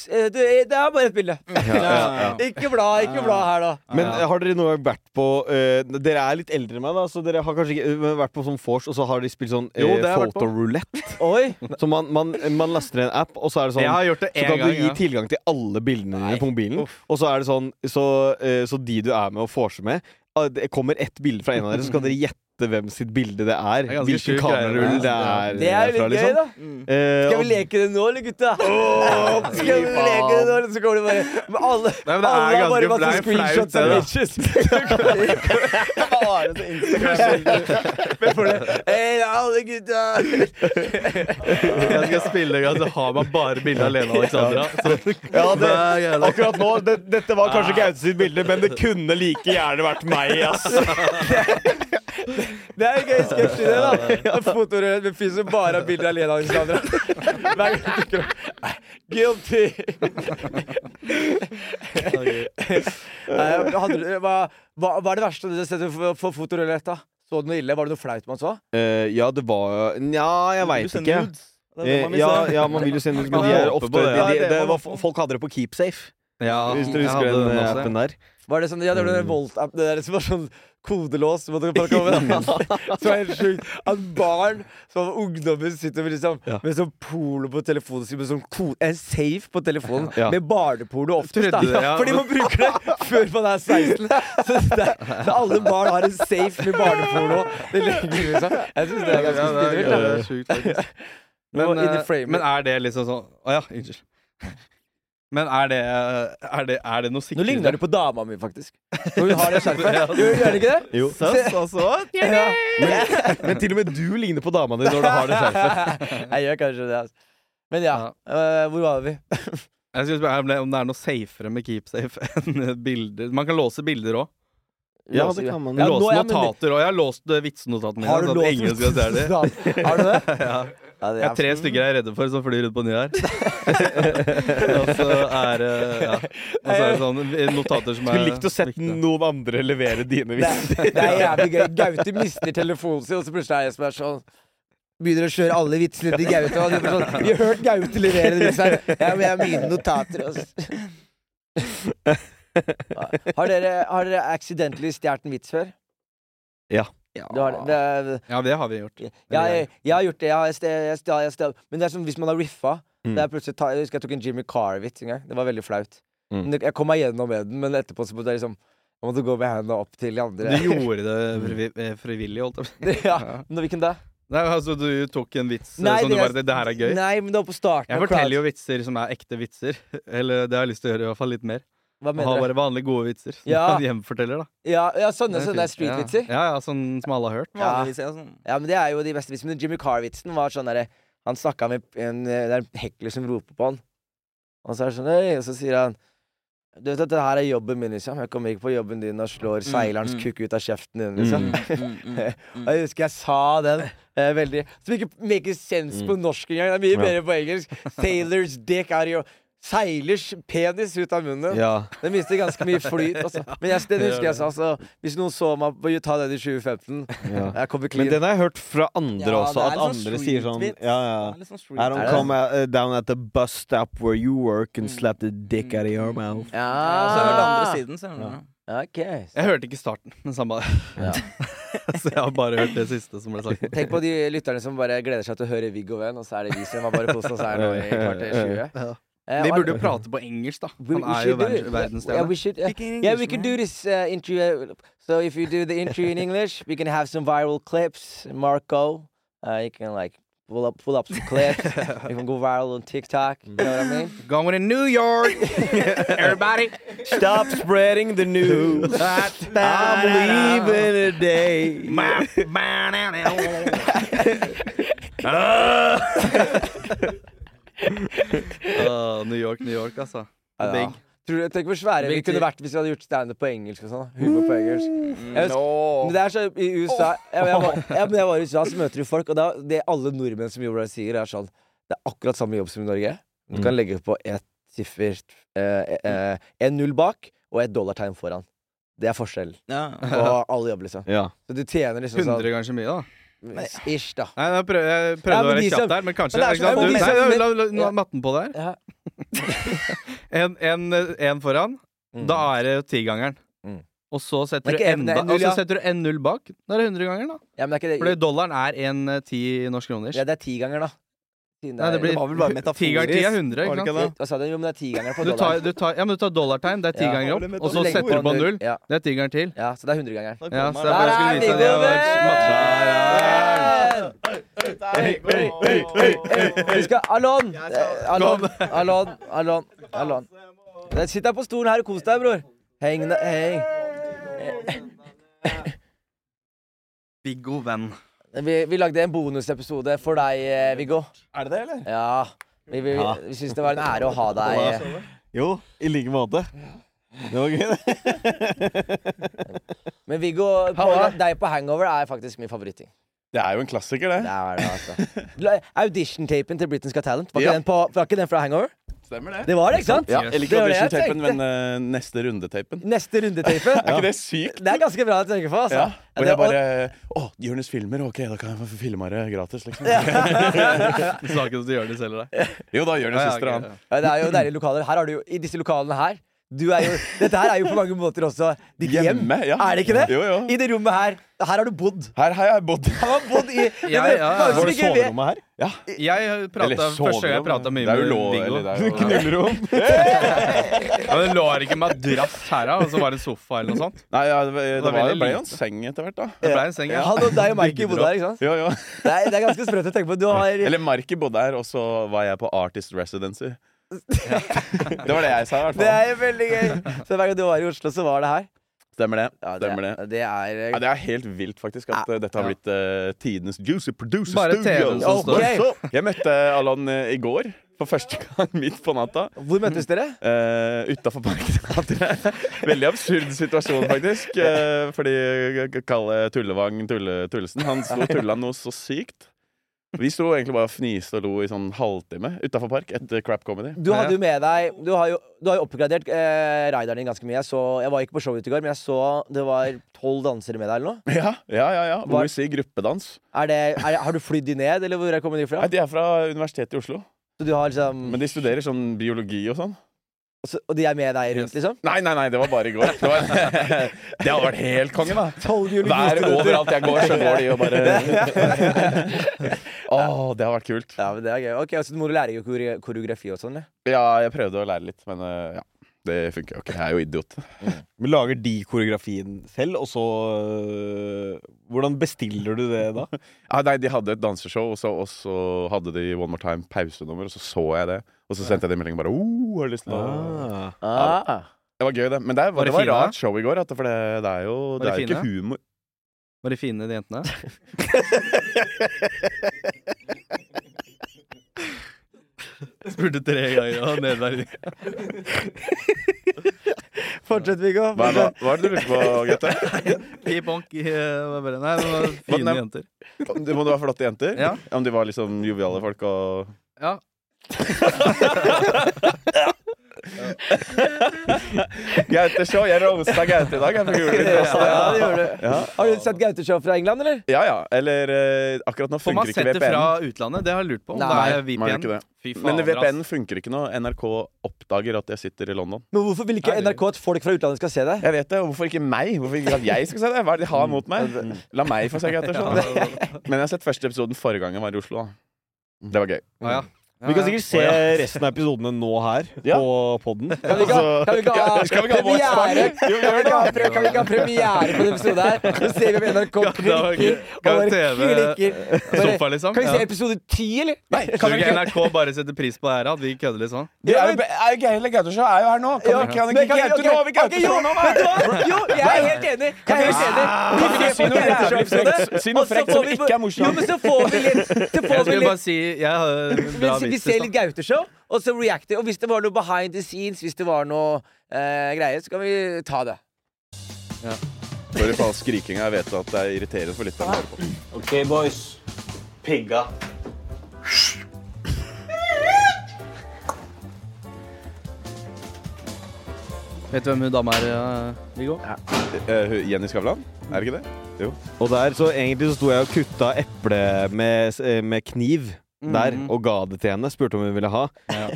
Speaker 1: s- eh, du, eh, Det er bare et bilde. Ikke bla, ikke bla her, da.
Speaker 3: Men har dere noe vært på eh, Dere er litt eldre enn meg, da, så dere har kanskje ikke eh, vært på sånn vors, og så har de spilt sånn
Speaker 2: Jo, det
Speaker 3: uh,
Speaker 2: har jeg vært på.
Speaker 3: fotorulett.
Speaker 1: Oi.
Speaker 3: Så man, man, man laster ned en app, og så er det sånn
Speaker 2: Jeg har gjort det
Speaker 3: så
Speaker 2: én
Speaker 3: kan
Speaker 2: gang.
Speaker 3: du gi
Speaker 2: Ja.
Speaker 3: tilgang til alle bildene dine på mobilen.
Speaker 2: Uff.
Speaker 3: Og så er det sånn Så, eh, så de du er med og vorser med ah, Det kommer ett bilde fra en av dere, så kan dere gjette hvem sitt bilde det er.
Speaker 2: Det er ganske
Speaker 3: Hvilken
Speaker 2: sjukt
Speaker 3: kamerarull
Speaker 2: greier,
Speaker 3: det
Speaker 2: ja.
Speaker 3: er.
Speaker 1: Det er jo
Speaker 3: derfra,
Speaker 1: litt gøy,
Speaker 3: liksom.
Speaker 1: da.
Speaker 3: Eh,
Speaker 1: Skal vi
Speaker 3: og-
Speaker 1: leke det nå, eller gutta? Skal vi leke det nå, eller så kommer det bare men Alle,
Speaker 2: Nei, men det er
Speaker 1: alle har
Speaker 2: ganske
Speaker 1: bare masse screenshots
Speaker 2: flaut,
Speaker 1: av
Speaker 2: det,
Speaker 1: bitches. Men for det Hei, alle gutta!
Speaker 2: Jeg skal spille en gang, så har man bare bilder av Lene og Alexandra. Så,
Speaker 3: Ja, det,
Speaker 2: Hver jævla-
Speaker 3: akkurat nå det, Dette var kanskje Gaute sitt bilde, men det kunne like gjerne vært meg. Ass.
Speaker 1: Det er jo gøy sketsj i det, da. Fotorøret med fyr som bare har bilder av Lena og Alexandra. Hver gang du dukker opp. Guilty! Nei, hadde du- Hva, hva hva er det verste du har sett for, for fotorøret, da? Så du noe ille? Var det noe flaut man så?
Speaker 3: Eh, ja, det var Nja, jeg veit
Speaker 4: sender
Speaker 3: ikke.
Speaker 4: nudes. Det er det
Speaker 3: Eh,
Speaker 4: man vil
Speaker 3: ja,
Speaker 4: se.
Speaker 3: ja, man vil jo sende ut, men
Speaker 2: Man
Speaker 3: de er
Speaker 2: håper
Speaker 3: ofte
Speaker 2: på det.
Speaker 3: de, de,
Speaker 4: Ja, det
Speaker 3: det
Speaker 4: må
Speaker 3: var,
Speaker 4: man få.
Speaker 3: Folk hadde det på KeepSafe,
Speaker 2: ja,
Speaker 3: hvis dere
Speaker 2: jeg
Speaker 3: husker
Speaker 2: hadde
Speaker 3: den
Speaker 2: også, ja.
Speaker 3: appen der.
Speaker 1: Var det sånn, ja, det
Speaker 2: Mm.
Speaker 1: var den Volt-app Det der som var sånn kodelås som måtte bare komme inn. Så var det helt sjukt At barn som ungdommer sitter med, liksom, med sånn porno på telefonen sin, med sånn ko- en safe på telefonen
Speaker 3: Ja.
Speaker 1: med barneporno oftest, da.
Speaker 2: Trodde det, ja.
Speaker 1: Fordi man bruker det før man er 16. Så, det, er- så alle barn har en safe med barneporno. Det ligger liksom Jeg syns det er ganske
Speaker 2: Ja, det er-
Speaker 1: spinnvilt.
Speaker 2: det er sjukt, faktisk.
Speaker 1: Men,
Speaker 2: Men,
Speaker 1: in the
Speaker 2: eh,
Speaker 1: frame.
Speaker 2: men er det liksom sånn Å ja, unnskyld. Men er det, er det, er det noe sikkert
Speaker 1: Nå ligner du på dama mi, faktisk. Når hun har det skjerfet. Gjør gjør det ikke det?
Speaker 3: Jo.
Speaker 2: Søs, altså.
Speaker 1: Ja.
Speaker 3: Men, men til og med du ligner på dama di når du har det skjerfet.
Speaker 1: Jeg gjør kanskje det, altså. Men ja, eh, hvor var vi?
Speaker 2: Jeg skulle spørre om det- om det er noe safere med KeepSafe enn bilder. Man kan låse bilder òg.
Speaker 3: Ja, det kan man.
Speaker 1: Ja, nå
Speaker 2: låse
Speaker 1: er jeg med-
Speaker 2: notater òg. Jeg har låst eh, vitsenotatene mine.
Speaker 1: Har du
Speaker 2: sånn at
Speaker 1: låst
Speaker 2: ingen skal se det.
Speaker 1: notater? Har du det? Ja, det
Speaker 2: Jeg har tre stykker jeg er redde for, som flyr rundt på ny her. og så er det ja. Og så er det sånn notater som er
Speaker 3: Skulle likt å sett noen andre levere dine
Speaker 1: Det,
Speaker 3: vitser.
Speaker 1: er- det er jævlig gøy. Gaute mister telefonen sin, og så plutselig er jeg som er sånn Begynner å kjøre alle vitsene til Gaute. Og han blir sånn, vi har hørt Gaute levere den vitsen her. Ja, men jeg har mine notater. Også. Har dere, har dere accidentally stjålet en vits før? Du har, det, det,
Speaker 2: Ja, det har vi gjort.
Speaker 1: Jeg, jeg, jeg har gjort det. Jeg har sted, jeg sted, jeg sted. Men det er som hvis man har riffa.
Speaker 3: Mm.
Speaker 1: Det er plutselig ta, jeg husker jeg tok en Jimmy Carr-vits en gang. Det var veldig flaut.
Speaker 3: Mm.
Speaker 1: Men det- Jeg kom meg gjennom med den, men etterpå så måtte jeg liksom Jeg måtte gå med hendene opp til de
Speaker 2: Du
Speaker 1: andre.
Speaker 2: gjorde det frivi- eh, frivillig, holdt jeg på å si.
Speaker 1: ja, men Hvilken da?
Speaker 2: Nei, altså, du tok en vits eh,
Speaker 1: Nei,
Speaker 2: som du
Speaker 1: det er-
Speaker 2: bare Det her er gøy.
Speaker 1: Nei, men det var på starten.
Speaker 2: Jeg
Speaker 1: av
Speaker 2: forteller jo
Speaker 1: crowd.
Speaker 2: vitser som er ekte vitser. Eller det har jeg lyst til å gjøre i hvert fall litt mer.
Speaker 1: Hva
Speaker 2: Ha
Speaker 1: mener du?
Speaker 2: bare vanlige, gode vitser.
Speaker 1: Ja.
Speaker 2: Hjemforteller, da.
Speaker 1: Ja, ja, sånne,
Speaker 2: Det er
Speaker 1: sånne
Speaker 2: fint.
Speaker 1: street-vitser.
Speaker 2: Ja. ja, ja, sånn som alle har hørt.
Speaker 4: Vanligvis er jeg sånn.
Speaker 1: Ja, men det er jo de beste vitsene. Men Jimmy Carr-vitsen var sånn derre Han eh, snakka med en, det er en hekler som roper på han. Og så er det sånn Hei, og så sier han Du vet at det her er jobben min, liksom. Jeg kommer ikke på jobben din og slår seilerens kukk ut av kjeften din, liksom. Og jeg husker jeg sa den eh, veldig Som ikke make sense på norsk engang. Det er mye bedre på engelsk. Sailors dick out of your Seilers penis ut av munnen.
Speaker 3: Ja.
Speaker 1: Den mister ganske mye flyt. Altså. Men jeg, den husker jeg sa. Så hvis noen så meg på ta den i 2015
Speaker 3: Ja.
Speaker 1: Jeg kommer
Speaker 3: Men
Speaker 1: clean.
Speaker 3: den har jeg hørt fra andre
Speaker 4: Ja, det
Speaker 3: også,
Speaker 4: er
Speaker 3: at
Speaker 4: litt sånn
Speaker 3: andre sier sånn
Speaker 4: street-vits.
Speaker 3: ja, ja.
Speaker 4: Det er litt sånn street.
Speaker 3: I
Speaker 1: Er
Speaker 3: don't
Speaker 1: det?
Speaker 3: come uh, down at the bus stop where you work and slap the dick out of your mouth.
Speaker 1: Ja,
Speaker 4: Ja, så er det
Speaker 1: Ah.
Speaker 4: andre siden, så er det noe.
Speaker 1: Ok.
Speaker 2: Jeg hørte ikke starten, men samme
Speaker 1: Ja.
Speaker 2: Så jeg har bare hørt det siste som ble sagt.
Speaker 1: Tenk på de lytterne som bare gleder seg til å høre Viggo Venn, og så er det vi som har bare kost oss her nå i kvarter 20. Eh,
Speaker 2: Vi
Speaker 1: og-
Speaker 2: burde jo prate på engelsk, da.
Speaker 1: We-
Speaker 2: Han
Speaker 1: we
Speaker 2: er jo
Speaker 1: should do it.
Speaker 2: ver-
Speaker 1: Yeah, we
Speaker 2: verdensstjerne.
Speaker 1: should, uh, yeah, we can do this uh, intro. uh, So if you do the intro in English, we can have some viral clips. Marco, uh, you can like pull up, pull up some clips. you can go viral on TikTok. You know what I mean?
Speaker 4: Going to New York, everybody.
Speaker 3: Stop spreading the news. I'm leaving today.
Speaker 2: Åh, New York, New York, altså.
Speaker 1: Ja,
Speaker 2: Big.
Speaker 1: Tror du, tenk hvor svære vi kunne vært hvis vi hadde gjort standup på engelsk og sånn. Humor på engelsk. Jeg husker, men det er så i USA jeg, jeg, var, jeg, men jeg var i USA, så møter du folk, og da, det alle nordmenn som jobber der, sier, er sånn Det er akkurat samme jobb som i Norge. Du
Speaker 2: Mm.
Speaker 1: kan legge på ett siffert eh, eh, En null bak og et dollartegn foran. Det er forskjellen
Speaker 4: Ja.
Speaker 1: på alle jobber, liksom.
Speaker 3: Ja.
Speaker 1: Så du tjener liksom
Speaker 2: 100 ganger så mye, da.
Speaker 1: sånn Ish, da.
Speaker 2: Nei, jeg prøvde, jeg prøvde
Speaker 1: Ja,
Speaker 2: å
Speaker 1: men
Speaker 2: være
Speaker 1: de som-
Speaker 2: kjapp der, men kanskje
Speaker 1: Men det er
Speaker 2: ikke sant?
Speaker 1: så-
Speaker 2: Du,
Speaker 1: men de
Speaker 2: nei,
Speaker 1: som-
Speaker 2: la, la, la
Speaker 1: Ja.
Speaker 2: matten på der.
Speaker 1: Ja.
Speaker 2: En, en, en foran,
Speaker 1: Mm.
Speaker 2: da er det tigangeren.
Speaker 1: Mm.
Speaker 2: Og så
Speaker 1: Men
Speaker 2: setter du
Speaker 1: ikke en-
Speaker 2: enda
Speaker 1: det er null,
Speaker 2: Og så
Speaker 1: ja.
Speaker 2: setter du en null bak. Da er det 100 ganger, da.
Speaker 1: ja, men det er ikke
Speaker 2: Fordi
Speaker 1: det.
Speaker 2: dollaren er 1,10 norske kroner.
Speaker 1: Ja, det er ti ganger, da. Siden
Speaker 2: Nei, det
Speaker 1: er-
Speaker 2: blir
Speaker 4: var vel bare metaforisk,
Speaker 2: 10 ganger 10 er 100,
Speaker 4: var det
Speaker 2: ikke
Speaker 4: ikke
Speaker 2: sant?
Speaker 4: det?
Speaker 1: Hva sa du? Jo, men det er ti ganger på
Speaker 2: Du tar,
Speaker 1: dollaren.
Speaker 2: du tar, ja, men du tar dollartegn, det er 10
Speaker 1: Ja.
Speaker 2: ganger opp, og så
Speaker 1: Legger
Speaker 2: setter du på null.
Speaker 1: Ja,
Speaker 2: Det er 10 ganger til.
Speaker 1: ja, så det er hundregangeren.
Speaker 2: Ja, så
Speaker 1: Der
Speaker 2: derfor jeg skulle
Speaker 1: er
Speaker 2: vise deg det.
Speaker 1: Viggo Venn! Vi skal Alon! eh, Alon, Alon, Alon. Alon. Der, Sitt deg på stolen her og kos deg, bror. Heng deg heng.
Speaker 2: Viggo Venn.
Speaker 1: Vi, vi lagde en bonusepisode for deg, eh, Viggo.
Speaker 3: Er det det, eller?
Speaker 1: Ja. Vi, vi,
Speaker 3: Ja.
Speaker 1: vi syns det var en ære å ha deg. eh.
Speaker 3: Jo, i like måte. Det var gøy, det.
Speaker 1: Men Viggo, på, deg på hangover er faktisk min favoritting.
Speaker 6: Det er jo en klassiker,
Speaker 1: Det
Speaker 6: det.
Speaker 1: er det, altså. La- Audition-tapen til Britain's Got Talent, var ikke,
Speaker 6: Ja.
Speaker 1: den på, var ikke den fra Hangover?
Speaker 6: Stemmer det.
Speaker 1: Det var det, ikke sant?
Speaker 6: Ja, jeg
Speaker 1: Det
Speaker 6: liker
Speaker 1: var det jeg
Speaker 6: audition-tapen,
Speaker 1: tenkte.
Speaker 6: men eh, neste runde-tapen.
Speaker 1: Neste runde-tape.
Speaker 6: Er ikke det sykt?
Speaker 1: Det er ganske bra å tenke på, altså.
Speaker 6: Ja.
Speaker 1: Ja,
Speaker 6: Hvor
Speaker 1: det-
Speaker 6: jeg bare Å, Jonis filmer, ok, da kan jeg få filma det gratis, liksom.
Speaker 2: Du sa ikke at du gjør det selv, da.
Speaker 6: Jo da, Jonis
Speaker 2: Ja, ja,
Speaker 6: søster,
Speaker 2: ok,
Speaker 6: han.
Speaker 2: ja.
Speaker 1: Ja, det er jo deilige lokaler. Her har du jo, I disse lokalene her du er jo, Dette her er jo på mange måter også ditt hjem.
Speaker 6: Hjemme, ja.
Speaker 1: Er det ikke det?
Speaker 6: Jo, jo.
Speaker 1: I det rommet her. Her har du bodd.
Speaker 6: Her har jeg bodd.
Speaker 1: Han har bodd i
Speaker 2: Ja,
Speaker 1: men-
Speaker 2: ja, ja.
Speaker 1: mange som
Speaker 3: Var det
Speaker 1: ikke vet-
Speaker 3: soverommet her?
Speaker 2: Jeg prata,
Speaker 6: Eller
Speaker 2: første gang jeg
Speaker 6: soverom,
Speaker 2: prata mye
Speaker 6: det er
Speaker 2: med
Speaker 6: jo lov,
Speaker 2: Viggo
Speaker 6: eller det er jo-
Speaker 3: Knullerom.
Speaker 2: ja, Det lå ikke madrass her, da, og så var det en sofa eller noe sånt.
Speaker 6: Nei, ja, det, det,
Speaker 2: var
Speaker 6: var,
Speaker 2: veldig
Speaker 6: det ble jo
Speaker 2: lite.
Speaker 6: en seng etter hvert, da.
Speaker 2: Det ble en seng. Ja.
Speaker 1: Han og deg og Mikey bodde her, ikke sant?
Speaker 6: Jo, jo.
Speaker 1: Det er, det er ganske sprøtt å tenke på. Du har
Speaker 6: Eller Marki bodde her, og så var jeg på Artist Residency. det var det jeg sa, i hvert
Speaker 1: Det
Speaker 6: fall.
Speaker 1: er veldig gøy. Så hver gang du var i Oslo, så var det her.
Speaker 6: Stemmer det.
Speaker 1: Ja, det,
Speaker 6: Stemmer det.
Speaker 1: det er eh,
Speaker 6: Ja, det er helt vilt, faktisk, at eh, dette har blitt eh, tidenes Juicy Producer
Speaker 2: Bare
Speaker 6: Studio.
Speaker 2: TV-en som
Speaker 1: står.
Speaker 6: What's up? Jeg møtte Alon eh, i går. For første gang midt på natta.
Speaker 1: Hvor møttes dere?
Speaker 6: Uh, Utafor Parkteatret. Veldig absurd situasjon, faktisk. eh, fordi Kalle Tullevang Tulle, Tullesen Han sto og tulla noe så sykt. Vi sto egentlig bare og fniste og lo i sånn halvtime utafor Park etter Crap Comedy.
Speaker 1: Du hadde jo med deg Du har jo, du har jo oppgradert eh, rideren din ganske mye. Jeg, så, jeg var ikke på showet i går, men jeg så det var tolv dansere med deg eller noe.
Speaker 6: Ja, ja, ja. ja.
Speaker 1: Hva-
Speaker 6: OEC gruppedans.
Speaker 1: Er det, er, har du flydd de ned, eller hvor kommer de fra?
Speaker 6: Nei, de er fra Universitetet i Oslo.
Speaker 1: Så du har liksom
Speaker 6: Men de studerer sånn biologi og sånn.
Speaker 1: og så- Og de er med deg rundt, liksom?
Speaker 6: Nei, nei, nei, det var bare i går. Det, var, det hadde vært helt konge, da.
Speaker 1: Ah, Tolv
Speaker 6: Hver
Speaker 1: biologistudenter.
Speaker 6: overalt jeg går, så går de og bare Å, det har vært kult.
Speaker 1: Ja, men det er gøy. Ok, Så du må jo lære jo kore- koreografi og sånn? ja.
Speaker 6: Ja, jeg prøvde å lære litt, men eh, ja. Det funker jo ikke. Jeg er jo idiot.
Speaker 3: Men lager de koreografien selv, og så øh, Hvordan bestiller du det da?
Speaker 6: Ja, Ah, nei, De hadde et danseshow, og så, og så hadde de One More Time pausenummer, og så så jeg det. Og så sendte jeg dem melding bare oh, har du lyst til å
Speaker 1: Ah.
Speaker 6: Det var gøy, det. Men det var,
Speaker 2: Var
Speaker 6: det
Speaker 2: de
Speaker 6: var
Speaker 2: fine?
Speaker 6: rart show i går, at, for det, det er jo,
Speaker 2: Var
Speaker 6: det
Speaker 2: de
Speaker 6: er jo ikke
Speaker 2: fine?
Speaker 6: humor.
Speaker 2: Var de fine, de jentene? Spurte tre ganger og han nede der.
Speaker 1: Fortsett, Viggo.
Speaker 6: Hva er, det, hva er det du lurer på, Gaute?
Speaker 2: I bonk i eh, bare- Nei, det var fine
Speaker 6: Nei.
Speaker 2: jenter.
Speaker 6: Det må det være flotte jenter?
Speaker 2: Ja.
Speaker 6: Om de var liksom joviale folk og
Speaker 2: Ja.
Speaker 6: Gaute Show, jeg roasta Gaute i dag. Jeg fikk jule litt roast.
Speaker 1: Ja, det gjør du.
Speaker 6: Ja.
Speaker 1: Har du sett Gaute-show fra England, eller?
Speaker 6: ja ja. Eller eh, akkurat nå
Speaker 2: Får man
Speaker 6: funker ikke
Speaker 2: sett det fra
Speaker 6: VPN.
Speaker 2: utlandet? Det har jeg lurt på. Om
Speaker 1: Nei,
Speaker 2: det er
Speaker 6: man
Speaker 2: VPN.
Speaker 6: gjør ikke det.
Speaker 2: Fy
Speaker 6: Men
Speaker 2: fader,
Speaker 6: VPN
Speaker 2: ass.
Speaker 6: funker ikke nå. NRK oppdager at jeg sitter i London.
Speaker 1: Men hvorfor vil ikke
Speaker 2: Nei, det-
Speaker 1: NRK at folk fra utlandet skal se deg?
Speaker 6: Jeg vet det, og Hvorfor ikke meg? Hvorfor ikke at jeg skal se det? Hva er det de har mot meg?
Speaker 1: Mm.
Speaker 6: La meg få se Gaute Show. Men jeg har sett første episoden forrige gang jeg var i Oslo. da Det var gøy.
Speaker 2: Ja, ja.
Speaker 3: Vi kan sikkert se resten av episodene nå her
Speaker 6: Ja.
Speaker 3: på podden
Speaker 1: Kan vi ikke ha, kan vi ikke ha
Speaker 6: Altså, Skal vi ikke ha vårt
Speaker 1: premiere?
Speaker 6: spark? Jo,
Speaker 1: Kan vi
Speaker 6: gjør
Speaker 1: ikke
Speaker 6: det!
Speaker 1: ha, pre- kan vi ikke ha premiere på den episoden her? Så ser vi om NRK
Speaker 2: det var
Speaker 1: klikker
Speaker 2: gøy.
Speaker 1: og bare
Speaker 2: Kan TV
Speaker 1: klikker. Bare-
Speaker 2: Sofa, liksom?
Speaker 1: Kan vi se
Speaker 2: Ja.
Speaker 1: episode ti, eller?
Speaker 6: Nei,
Speaker 2: Tror du ikke NRK bare setter pris på det her? At vi kødder litt sånn?
Speaker 6: Det er jo er jo Geir eller Gaute Show er jo her nå. Kan
Speaker 1: Ja,
Speaker 6: vi- kan
Speaker 1: men
Speaker 6: vi ikke
Speaker 1: kan vi-
Speaker 6: Gaute
Speaker 1: ok,
Speaker 6: nå? Har vi Gaute
Speaker 1: ok,
Speaker 6: Show nå?
Speaker 1: Jo, vet du hva? Jo, jeg er helt enig. Jeg er helt enig. Vi ser på
Speaker 6: si noe
Speaker 1: Gaute
Speaker 6: jævlig
Speaker 1: Show-episode,
Speaker 6: frekt? Si
Speaker 1: og
Speaker 6: noe
Speaker 1: så
Speaker 6: frekt
Speaker 1: får
Speaker 6: som
Speaker 1: vi-
Speaker 6: ikke er morsomt.
Speaker 1: Jo, men så får vi litt, så får
Speaker 7: Altså,
Speaker 1: vi
Speaker 2: Jeg skulle
Speaker 1: litt
Speaker 2: bare si Jeg har en bra
Speaker 1: men, vi
Speaker 2: vits. i
Speaker 1: ser
Speaker 2: stad.
Speaker 1: litt Gaute-show, og så reacter. Og hvis det var noe behind the scenes, hvis det var noe eh, greier, så kan vi ta det.
Speaker 6: Sorry for all skrikinga. Jeg vet at det er irriterende for lytterne å høre på.
Speaker 3: OK, boys. Pigga.
Speaker 2: Vet du hvem hun dama er, eh, Viggo?
Speaker 6: Eh, hun- Jenny Skavlan? Er det ikke det? Jo.
Speaker 3: Og der, så egentlig så sto jeg og kutta eple med, eh, med kniv der, og ga det til henne. Spurte om hun ville ha.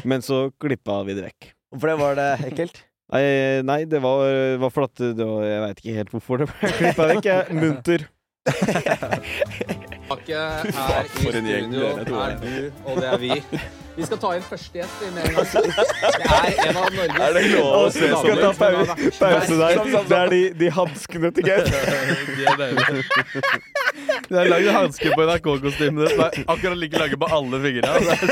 Speaker 3: Men så klippa vi det vekk.
Speaker 1: For det var det ekkelt.
Speaker 3: Nei, nei det var, var fordi at det var, Jeg veit ikke helt hvorfor det ble klippa vekk. Jeg er munter.
Speaker 7: Bakke
Speaker 6: faen,
Speaker 7: er i
Speaker 6: for en gjeng
Speaker 7: studio.
Speaker 6: dere to er.
Speaker 7: Er du, og det er vi. Vi skal ta inn første gjest vi, med en gang. Det er en av Norges
Speaker 6: Er det lov å se
Speaker 3: Skal ta
Speaker 6: sånn ut?
Speaker 3: pau- pause der. Det er de, de hanskene til Gaute.
Speaker 2: De er deilige. Det er lagd hansker på NRK-kostymet ditt. Det er akkurat like lange på alle fingrene. altså.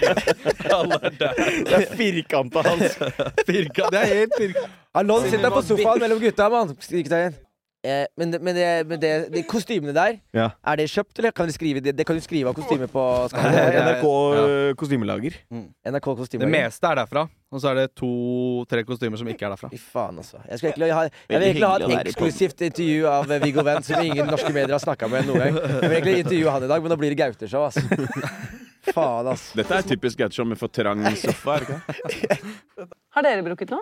Speaker 2: Det er så- Alle er der.
Speaker 3: Det er firkanta hansker.
Speaker 2: Firka. Det er helt firka.
Speaker 1: Alon sitter på sofaen mellom gutta, mann. Skrik deg inn. Eh, men men, det, men det, de kostymene der,
Speaker 3: Ja.
Speaker 1: er det kjøpt, eller kan dere skrive det? Det kan du skrive av kostymer på Skandinavia.
Speaker 3: NRK eh, kostymelager.
Speaker 1: NRK
Speaker 2: Det
Speaker 1: kostymer.
Speaker 2: meste er derfra. Og så er det to-tre kostymer som ikke er derfra.
Speaker 1: Fy faen, altså. Jeg, skulle egentlig ha, jeg vil egentlig ha
Speaker 8: hyggelig å være
Speaker 1: et
Speaker 8: i
Speaker 1: eksklusivt intervju av eh, Viggo Venn, som ingen norske medier har snakka med noen gang. Jeg vil egentlig intervjue han i dag, men da blir det Gaute-show, altså. Faen, altså.
Speaker 6: Dette er typisk Gaute Show med for trang sofa. er det ikke det?
Speaker 9: Har dere brukket noe?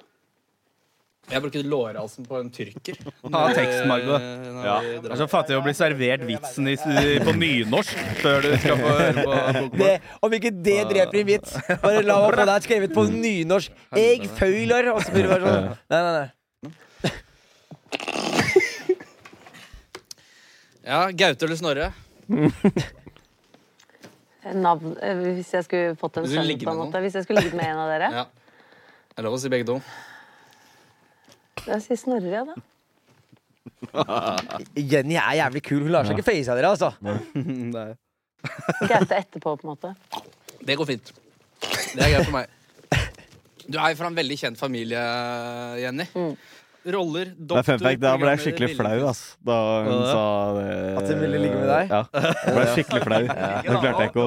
Speaker 7: Jeg brukte lårhalsen på en tyrker.
Speaker 2: Ta teksten, Margot. Det er så fattig å bli servert vitsen i, i- på nynorsk før du skal få høre på bokmål.
Speaker 1: Det, om ikke det dreper en vits, bare la meg få det her skrevet på nynorsk. Jeg føler Og så blir det bare sånn. Nei, nei, nei.
Speaker 7: Ja, Gaute eller Snorre?
Speaker 9: Navn, eh, hvis jeg skulle fått en
Speaker 7: Hvis du
Speaker 9: sønn,
Speaker 7: ligger
Speaker 9: på en
Speaker 7: med
Speaker 9: måte. Hvis jeg skulle ligget med en av dere.
Speaker 7: Ja. Det er lov å si begge to.
Speaker 9: Jeg sier Snorre, ja, da.
Speaker 1: Jenny er jævlig kul. Hun lar seg ikke face av dere, altså.
Speaker 2: Nei.
Speaker 9: Gaute etterpå, på en måte.
Speaker 7: Det går fint. Det er greit for meg. Du er jo fra en veldig kjent familie, Jenny. Roller,
Speaker 3: Mm. Det
Speaker 7: doktor
Speaker 3: er fun fact. Da ble jeg skikkelig flau, ass. Da hun sa det.
Speaker 1: At hun ville ligge
Speaker 6: eh,
Speaker 1: med deg?
Speaker 3: Ja. Jeg ble skikkelig flau. Det klarte jeg ikke å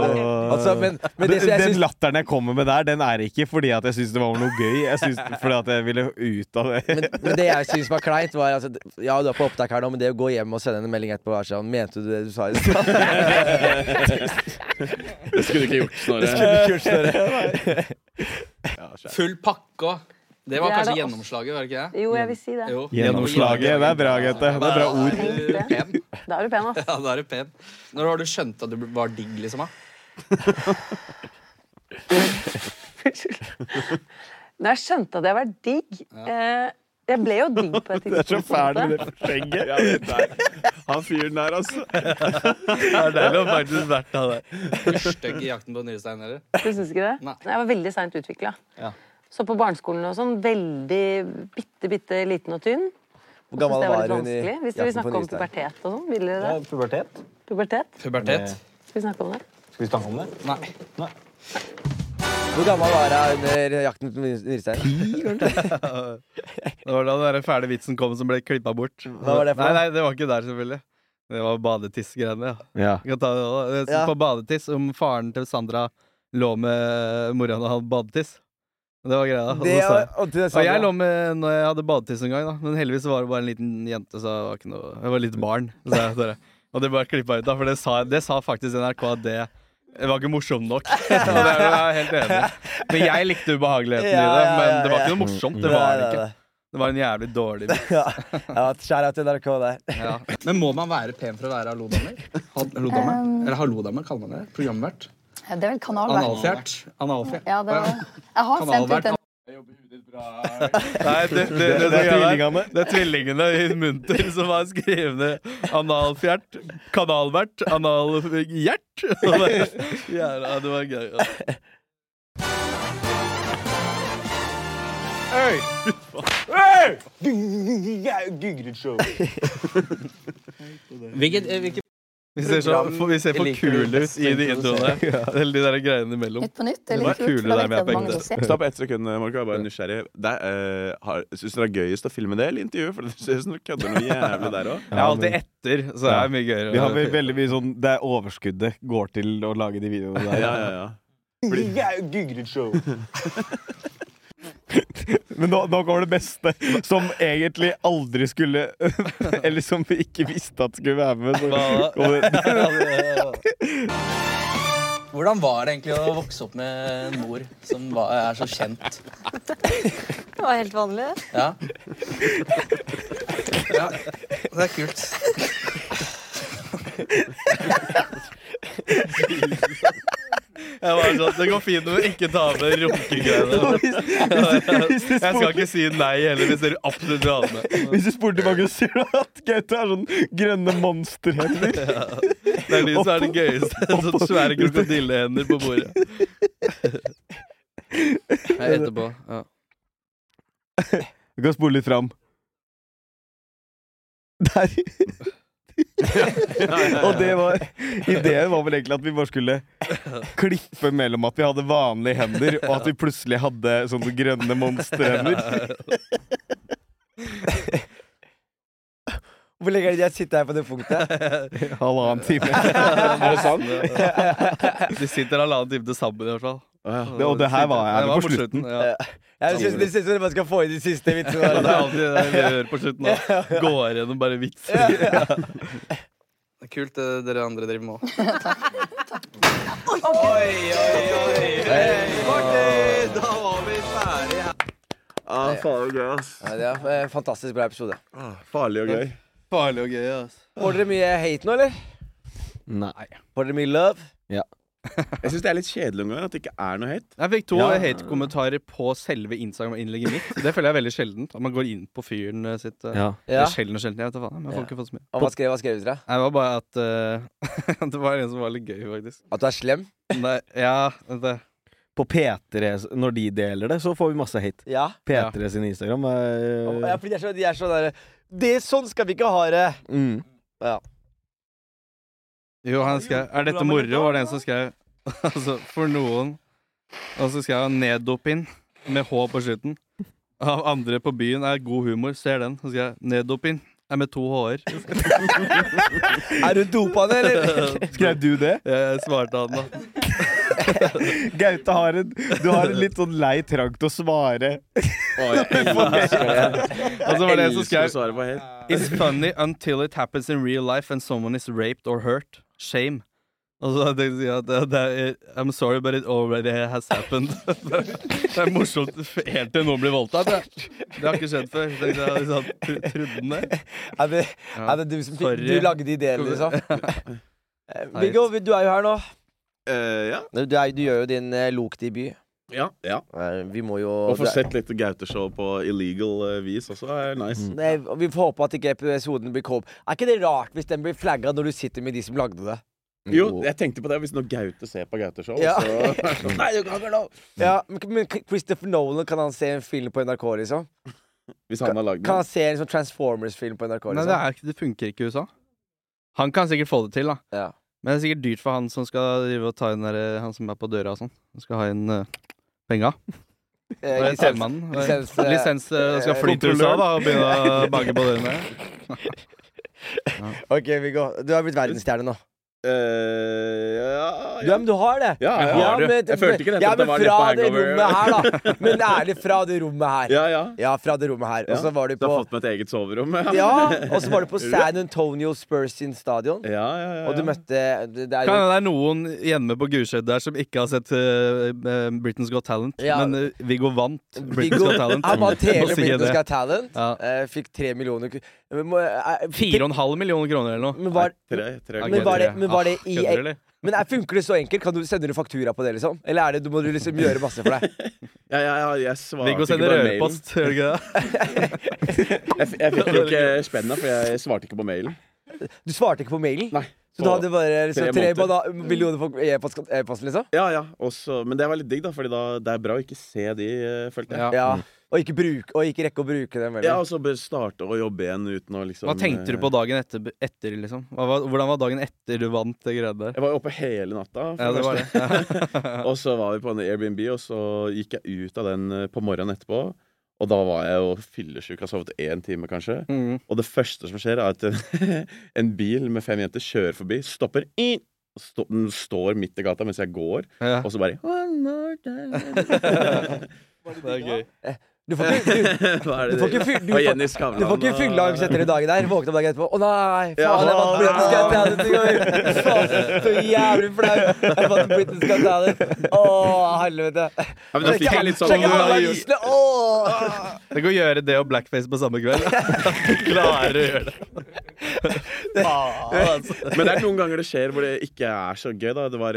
Speaker 1: Altså, men, men det som jeg
Speaker 3: den
Speaker 1: syns
Speaker 3: latteren jeg kommer med der, den er ikke fordi at jeg syns det var noe gøy. Jeg synes, fordi at jeg ville ut av det.
Speaker 1: men, men det jeg syns var kleint, var altså Ja, du er på opptak her nå, men det å gå hjem og sende en melding etterpå er sånn Mente du det du sa i stad?
Speaker 6: Det skulle du ikke gjort, Snorre.
Speaker 7: Full pakke og Det var kanskje
Speaker 9: Det er det også.
Speaker 7: gjennomslaget, var det ikke det?
Speaker 9: Jo, jeg vil si det.
Speaker 7: Jo.
Speaker 3: Gjennomslaget. Det er bra, Gaute. Det er bra ord.
Speaker 7: Da er du pen.
Speaker 9: Da er du pen, ass.
Speaker 7: Ja, da er du pen. Når har du skjønt at du var digg, liksom? da?
Speaker 9: Når jeg skjønte at jeg var digg eh, Jeg ble jo digg på et
Speaker 3: Det
Speaker 9: tidspunkt.
Speaker 3: er så
Speaker 9: på en
Speaker 3: fælt med
Speaker 9: måte.
Speaker 3: det skjegget.
Speaker 6: Ja, det er- Han fyren der, altså.
Speaker 2: Det er deilig å faktisk vært av det.
Speaker 7: Er du stygg i jakten på nyrestein, eller?
Speaker 9: Du syns ikke det?
Speaker 7: Nei.
Speaker 9: Jeg var veldig seint utvikla. Så på barneskolen og sånn, veldig bitte, bitte liten og tynn.
Speaker 1: Hvor
Speaker 9: Synes
Speaker 1: gammel
Speaker 9: det var
Speaker 1: var
Speaker 9: litt
Speaker 1: hun i
Speaker 9: vanskelig. Hvis
Speaker 1: Jakten på
Speaker 9: dere vil snakke om
Speaker 1: nyrestein?
Speaker 9: pubertet og sånn, ville dere det?
Speaker 3: Pubertet?
Speaker 9: Pubertet?
Speaker 7: Pubertet?
Speaker 9: Skal vi snakke om det?
Speaker 3: Skal vi snakke om det?
Speaker 7: Nei.
Speaker 1: Hvor gammel var hun under Jakten på nyrestein?
Speaker 2: Det var da den der fæle vitsen kom som ble klippa bort.
Speaker 1: Hva var det for
Speaker 2: Nei,
Speaker 1: noe?
Speaker 2: nei, det var ikke der, selvfølgelig. Det var badetissgreiene, ja.
Speaker 3: Ja.
Speaker 2: Vi kan ta det også. Det er
Speaker 1: Ja.
Speaker 2: På badetiss, om faren til Sandra lå med mora når han hadde badetiss. Det var greia. Og,
Speaker 1: Det,
Speaker 2: så sa jeg-
Speaker 1: og, det sa
Speaker 2: og jeg
Speaker 1: du.
Speaker 2: lå med når jeg hadde badetiss en gang, da. men heldigvis var det bare en liten jente. Så det var ikke noe, jeg var et lite barn. Så jeg, bare- og det bare klippa ut, da, for det sa, det sa faktisk NRK at det det var ikke morsomt nok. Og det er jeg helt enig. i. Men jeg likte ubehageligheten
Speaker 1: Ja, ja,
Speaker 2: i det. Men
Speaker 1: ja,
Speaker 2: det var ikke
Speaker 1: ja.
Speaker 2: noe morsomt. Det
Speaker 1: Nei,
Speaker 2: var det
Speaker 1: nei,
Speaker 2: ikke.
Speaker 1: nei.
Speaker 2: Det var en jævlig dårlig bit.
Speaker 1: Ja, ja Skjær av til NRK der.
Speaker 2: Ja.
Speaker 7: Men må man være pen for å være hallodamer? Hal- Hallodamer? Eller hallodamer, kaller man det? Programvert?
Speaker 10: Ja, Det er vel kanalvert.
Speaker 7: Analfjert? Analfjert.
Speaker 10: Ja, det var... Jeg har sendt ut
Speaker 7: Kanalvert.
Speaker 10: en
Speaker 2: Nei, det, det, det, det, er tvillingene. Det er tvillingene i Munter som har skrevet ned analfjert, kanalvert, analhjert. Og det- Jævla, det var gøy. altså. Ja.
Speaker 7: Hvilket, eh, hvilket
Speaker 2: Vi ser, så, vi ser for kule ut i de introene. Eller de der greiene imellom.
Speaker 10: Nytt på nytt. Det er
Speaker 2: var
Speaker 10: litt kult,
Speaker 2: kulere
Speaker 10: for da
Speaker 2: der med
Speaker 10: vet jeg
Speaker 2: at
Speaker 10: at mange
Speaker 2: jeg
Speaker 10: som ser.
Speaker 6: Stopp ett sekund, Marco. Jeg er bare nysgjerrig. Det er, eh, har- Syns du det er gøyest å filme det eller intervjue? For det ser ut som du kødder noe jævlig der òg.
Speaker 2: Jeg er alltid etter, så det er mye gøyere.
Speaker 3: altså, Vi har vel veldig mye sånn Det er overskuddet går til å lage de videoene der.
Speaker 6: Ja, ja, ja.
Speaker 3: Men nå, nå kommer det beste, som egentlig aldri skulle Eller som vi ikke visste at skulle være med. Så
Speaker 2: Hva?
Speaker 3: kommer det.
Speaker 11: Hvordan var det egentlig å vokse opp med en mor som var, er så kjent?
Speaker 10: Det var helt vanlig.
Speaker 11: Ja,
Speaker 7: ja, Det er kult.
Speaker 2: Jeg var sånn, Det går fint når du ikke tar med runkegreiene. Jeg skal ikke si nei heller hvis dere absolutt vil ha det med.
Speaker 3: Hvis du spurte mange, sier du at Gaute er sånn grønne monsterhender.
Speaker 2: Det er de som er det gøyeste. Sånne svære krokodillehender på bordet.
Speaker 7: Jeg gjetter på. Ja.
Speaker 3: Du kan spole litt fram. Der. Og det var Ideen var vel egentlig at vi bare skulle klippe mellom at vi hadde vanlige hender, og at vi plutselig hadde sånne grønne monsterhender.
Speaker 1: Hvor lenge er det jeg sitter her på det punktet?
Speaker 3: Halvannen time.
Speaker 2: Er det sant? De sitter halvannen time til sammen, i hvert fall.
Speaker 3: Det- og det her var jeg på slutten.
Speaker 2: Ja.
Speaker 1: Jeg synes Det ser ut som dere bare skal få i de siste vitsene.
Speaker 2: Ja,
Speaker 1: der.
Speaker 2: Det er alltid det vi hører på slutten. Da. Går gjennom bare vitser.
Speaker 7: Det er kult det dere andre driver med òg.
Speaker 6: Ah, farlig og gøy, ass.
Speaker 1: Nei, Det er en fantastisk bra episode.
Speaker 6: Ah, farlig og gøy.
Speaker 2: Farlig og gøy, altså.
Speaker 1: Får dere mye hate nå, eller?
Speaker 3: Nei.
Speaker 1: Får dere mye love?
Speaker 6: Jeg syns det er litt kjedelig noen ganger at det ikke er noe hate.
Speaker 2: Jeg fikk to hate-kommentarer på selve Instagram-innlegget mitt. Det føler jeg er veldig sjeldent. At man går inn på fyren eh, sitt. eh,
Speaker 3: Ja.
Speaker 2: Det
Speaker 1: Ja.
Speaker 2: er sjelden og sjelden. Jeg vet da faen, men jeg får ikke fått så mye.
Speaker 1: Og hva skrev, hva skrev dere?
Speaker 2: Nei, Det var bare at eh, Det var en som var litt gøy, faktisk.
Speaker 1: At du er slem?
Speaker 2: Nei, ja, det
Speaker 3: På P3, s- når de deler det, så får vi masse hate.
Speaker 1: Ja.
Speaker 3: P3 sin Instagram
Speaker 1: Og-
Speaker 3: er
Speaker 1: ja fordi de er så, de er så der, det, Sånn skal vi ikke ha det!
Speaker 3: mm.
Speaker 2: Jo, han skrev Er dette moro? var det en som skrev. altså, for noen. Og så skrev han neddopin med H på slutten. Av andre på byen er god humor. Ser den. Så skrev jeg neddopin er med to H-er.
Speaker 1: Er du dopa ned, eller?
Speaker 3: Skrev du det?
Speaker 2: Jeg svarte han, da.
Speaker 3: Gaute har en Du har en litt sånn lei trang til å svare.
Speaker 2: Og så var det en som
Speaker 6: Elsker å
Speaker 2: skrev
Speaker 6: svare på hate.
Speaker 2: It's funny until it happens in real life and someone is raped or hurt. Shame. Og så tenkte jeg si at det, det er, I'm sorry, but it already has happened. det er morsomt helt til noen blir voldtatt. Det, det har ikke skjedd før. Tenkte jeg liksom, tro- Trodde den det?
Speaker 1: Er det,
Speaker 2: Ja.
Speaker 1: er det du som fikk,
Speaker 2: Sorry.
Speaker 1: du lagde ideen, liksom? Eh, Viggo, du er jo her nå.
Speaker 6: Eh, ja.
Speaker 1: Du, er, du gjør jo din eh, lokdebut.
Speaker 6: Ja. ja.
Speaker 1: Eh, Vi må jo
Speaker 6: Å få
Speaker 1: det-
Speaker 6: sett litt Gaute-show på illegal eh, vis også er nice.
Speaker 1: Nei, og Vi får håpe at ikke episoden blir kåp. Er ikke det rart hvis den blir flagga når du sitter med de som lagde det?
Speaker 6: Jo, jeg tenkte på det hvis når Gaute ser på Gaute-show,
Speaker 1: Ja.
Speaker 6: så er det sånn, Nei, du kan ikke ha lov!
Speaker 1: Ja, men- Men Christopher Nolan, kan han se en film på NRK, liksom?
Speaker 6: Hvis han har lagd
Speaker 1: Kan
Speaker 6: den.
Speaker 1: han se en sånn Transformers-film på NRK?
Speaker 2: Nei, det,
Speaker 1: liksom?
Speaker 2: er, ikke- det funker ikke i USA. Han kan sikkert få det til, da.
Speaker 1: Ja.
Speaker 2: Men det er sikkert dyrt for han som skal drive og ta inn der, eh, han som er på døra og sånn. Han skal ha inn uh, penga.
Speaker 1: Eh,
Speaker 2: Hva er
Speaker 1: lisens-
Speaker 2: tellemannen? Hva er-
Speaker 1: lisens, eh,
Speaker 2: Lisens eh, skal fly til USA da og begynne å banke på dørene.
Speaker 1: Ok, Viggo. Du har blitt verdensstjerne nå.
Speaker 6: Eh, ja,
Speaker 1: ja, men du har det.
Speaker 6: Ja, jeg har det.
Speaker 1: men-
Speaker 6: Jeg følte ikke nettopp
Speaker 1: ja,
Speaker 6: det
Speaker 1: men
Speaker 6: var litt
Speaker 1: fra
Speaker 6: på
Speaker 1: det
Speaker 6: Hangover.
Speaker 1: rommet her, da. Men ærlig, fra det rommet her.
Speaker 6: Ja, ja.
Speaker 1: fra det rommet her. Og så var du
Speaker 6: Du har
Speaker 1: på
Speaker 6: fått meg et eget soverom.
Speaker 1: Ja, og så var du på San Antonio Spurs sin stadion. Og du møtte det, det er
Speaker 2: Kan
Speaker 1: jo,
Speaker 2: hende det er noen hjemme på Gulset der som ikke har sett eh, eh, Britain's Got Talent,
Speaker 1: Ja.
Speaker 2: men eh, Viggo vant Britain's
Speaker 1: Viggo-
Speaker 2: Got Talent.
Speaker 1: Han vant
Speaker 2: Jeg må
Speaker 1: hele
Speaker 2: si det.
Speaker 1: Britain's Got Talent.
Speaker 2: Ja.
Speaker 1: eh, Fikk tre millioner kr- Men må- eh, fikk-
Speaker 2: Fire og en halv million kroner eller noe.
Speaker 1: Men var,
Speaker 6: Tre- tre
Speaker 1: men var det,
Speaker 2: kroner.
Speaker 1: men var det
Speaker 2: Ah,
Speaker 1: i
Speaker 2: kødder du, eller?
Speaker 1: Men er, funker det så enkelt? Kan du, sender du faktura på det, liksom? Eller er det, du må du liksom gjøre masse for deg?
Speaker 6: Ja, ja, ja, jeg svarte
Speaker 2: Viggo
Speaker 6: ikke
Speaker 2: sender
Speaker 6: på mailen.
Speaker 2: rørpost, gjør du ikke det?
Speaker 6: Jeg, f- jeg fikk jo ikke spenna, for jeg svarte ikke på mailen.
Speaker 1: Du svarte ikke på mailen? Så
Speaker 6: på
Speaker 1: du hadde bare liksom,
Speaker 6: tre
Speaker 1: tre
Speaker 6: måneder.
Speaker 1: bana- millioner på e-post, e-post, liksom?
Speaker 6: Ja, ja, også, Men det var litt digg, da, Fordi da, det er bra å ikke se de, eh, følte
Speaker 1: Ja.
Speaker 6: jeg.
Speaker 1: Og, ikke bruk, og ikke rekke å bruke dem
Speaker 6: Ja,
Speaker 1: heller.
Speaker 6: og så bare starte å jobbe igjen uten å liksom
Speaker 2: Hva tenkte du på dagen etter, etter liksom? Hva, var- hvordan var dagen etter du vant det greia der?
Speaker 6: Jeg var oppe hele natta. for
Speaker 2: Ja, det var det.
Speaker 6: første. og så var vi på en Airbnb, og så gikk jeg ut av den eh, på morgenen etterpå. Og da var jeg jo fyllesyk, har sovet én time kanskje.
Speaker 2: Mm.
Speaker 6: Og det første som skjer, er at en, en bil med fem jenter kjører forbi, stopper i og stå- Den står midt i gata mens jeg går, og så bare
Speaker 2: Det er gøy.
Speaker 1: Du får ikke, du,
Speaker 6: Hva er
Speaker 1: du
Speaker 6: det
Speaker 1: får
Speaker 6: du-
Speaker 1: ikke, fyll- du
Speaker 6: Og
Speaker 1: får,
Speaker 6: Jenny Skavlan
Speaker 1: du får ikke
Speaker 6: og-
Speaker 1: fylleangst etter i dagen der. Våkne opp dagen etterpå. Å nei!
Speaker 6: Ja.
Speaker 1: Faen, jeg vant Britain's Got Talent i går! Faen, Så jævlig flau! Jeg vant Britain's Got Talent. Å, helvete.
Speaker 6: Ja, men da fikk jeg litt sånn-
Speaker 1: Sjekk alle avisene! Å!
Speaker 2: Det går å gjøre det og blackface på samme kveld. Klarer å gjøre det.
Speaker 6: Men det er noen ganger det skjer hvor det ikke er så gøy. da Det var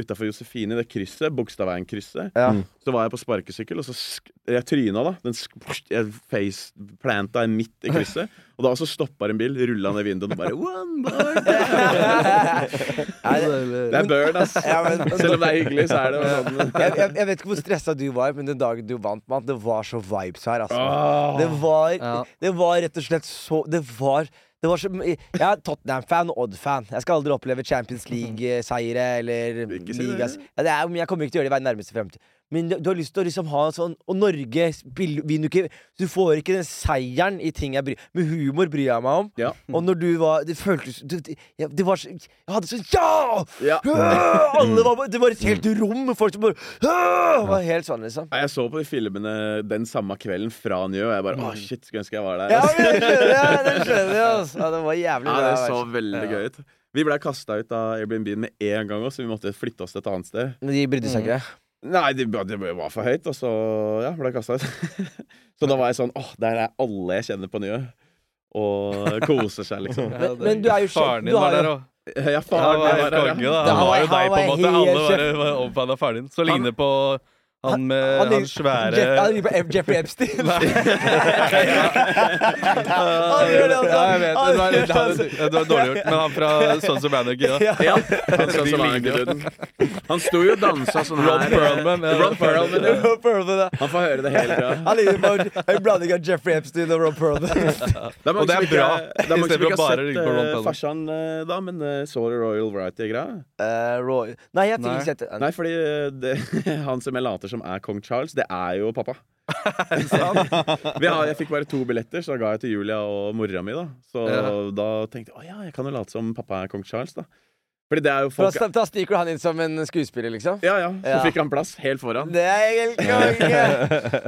Speaker 6: utafor Josefine, det krysset, Bogstadveien-krysset. Så var jeg på sparkesykkel, og så sk jeg tryna, da. Den sk jeg faceplanta midt i krysset. Og da også stoppa en bil, rulla ned vinduet og bare One more day. Det er burn, ass.
Speaker 1: Ja, men-
Speaker 6: Selv om det er hyggelig, så er det jo
Speaker 1: jeg,
Speaker 6: sånn.
Speaker 1: jeg, jeg vet ikke hvor stressa du var, men den dagen du vant, mann, det var så vibes her, altså.
Speaker 6: Åh.
Speaker 1: Det, var,
Speaker 6: Ja.
Speaker 1: det var rett og slett så Det var det var så, jeg er Tottenham-fan og Odd-fan. Jeg skal aldri oppleve Champions League-seire eller
Speaker 6: si det.
Speaker 1: ligas. Ja, det er, jeg kommer ikke til å gjøre det i nærmeste fremtid. Men du, du har lyst til å liksom ha en sånn Og Norge spiller, vinner jo ikke Så du får ikke den seieren i ting jeg bryr Med humor bryr jeg meg om. Og når du var Det føltes det, det, jeg- det var så Jeg hadde sånn Ja! Øh, Alle var, det var et helt rom med folk som bare øh, var helt sånn, liksom.
Speaker 6: Nei, Jeg så på de filmene den samme kvelden fra Njø, og jeg bare Å, shit, skulle ønske jeg var der.
Speaker 1: Ja,
Speaker 6: ass.
Speaker 1: men det skjønner jeg. Det skjønner jeg altså. ja, det var jævlig
Speaker 6: Ja,
Speaker 1: bra.
Speaker 6: det
Speaker 1: vær.
Speaker 6: så veldig gøy ut. Vi blei kasta ut av Airbnb med en gang, også, så vi måtte flytte oss til et annet sted.
Speaker 1: Men de brydde
Speaker 6: Mm.
Speaker 1: seg ikke?
Speaker 6: Nei, det, det var for høyt, og så ja, ble jeg kasta ut. så da var jeg sånn Åh, der er alle jeg kjenner på nye. Og koser seg, liksom.
Speaker 1: Men- men du er jo sjef-
Speaker 2: Faren din var der eh, òg.
Speaker 6: Ja, faren
Speaker 2: var
Speaker 6: min var
Speaker 2: helt
Speaker 6: der,
Speaker 2: konge,
Speaker 6: ja.
Speaker 2: da.
Speaker 6: Da
Speaker 2: Han
Speaker 6: var
Speaker 2: var jo
Speaker 6: jeg-
Speaker 2: deg,
Speaker 6: han
Speaker 2: på en
Speaker 6: var
Speaker 2: måte. Alle
Speaker 6: helt
Speaker 2: var
Speaker 6: sjef.
Speaker 2: var omfavnet av faren din. Så ligner på han med
Speaker 1: han
Speaker 2: han,
Speaker 1: ligner-
Speaker 2: svære
Speaker 1: Jeff, han ligner på Ep- Jeffrey Epstein. Han gjør det også.
Speaker 2: Ja, jeg vet.
Speaker 1: Han
Speaker 2: Det
Speaker 1: gjør
Speaker 2: var, det
Speaker 1: det
Speaker 2: var,
Speaker 1: også.
Speaker 2: det var dårlig gjort. Men han fra Sons of Anarchy, da.
Speaker 6: Ja, han
Speaker 2: De
Speaker 6: sa så var
Speaker 2: ligner jo.
Speaker 6: han ikke Han sto jo og dansa sånn her.
Speaker 2: Ron Perlman, ja.
Speaker 6: Ron Perlman, ja.
Speaker 1: Rob Perlman, ja.
Speaker 6: Han får høre det hele tida.
Speaker 1: Han ligner på en blanding av Jeffrey Epstein og Rob Eh, Perlman.
Speaker 6: Det er
Speaker 2: Og
Speaker 6: mange
Speaker 2: det
Speaker 6: som
Speaker 2: er
Speaker 6: ikke-
Speaker 2: bra,
Speaker 6: Det er mange som
Speaker 2: istedenfor bare
Speaker 6: ikke har
Speaker 2: å
Speaker 6: sett
Speaker 2: ligge på Ron
Speaker 6: eh,
Speaker 2: Perlman.
Speaker 6: farsan eh, da, men eh, så du Royal Variety-greia?
Speaker 1: Eh, Roy Nei, jeg fikk
Speaker 6: Nei.
Speaker 1: ikke sett det.
Speaker 6: Nei, fordi eh, det, han som jeg later som er kong Charles, det er jo pappa. Vi har, jeg fikk bare to billetter, så da ga jeg til Julia og mora mi. da Så
Speaker 1: Ja.
Speaker 6: da tenkte jeg å ja, jeg kan jo late som pappa er kong Charles. da Fordi det er jo
Speaker 1: For
Speaker 6: folk
Speaker 1: da, da stikker du han inn som en skuespiller, liksom?
Speaker 6: Ja, ja. Så fikk han plass helt foran.
Speaker 1: Det er helt konge!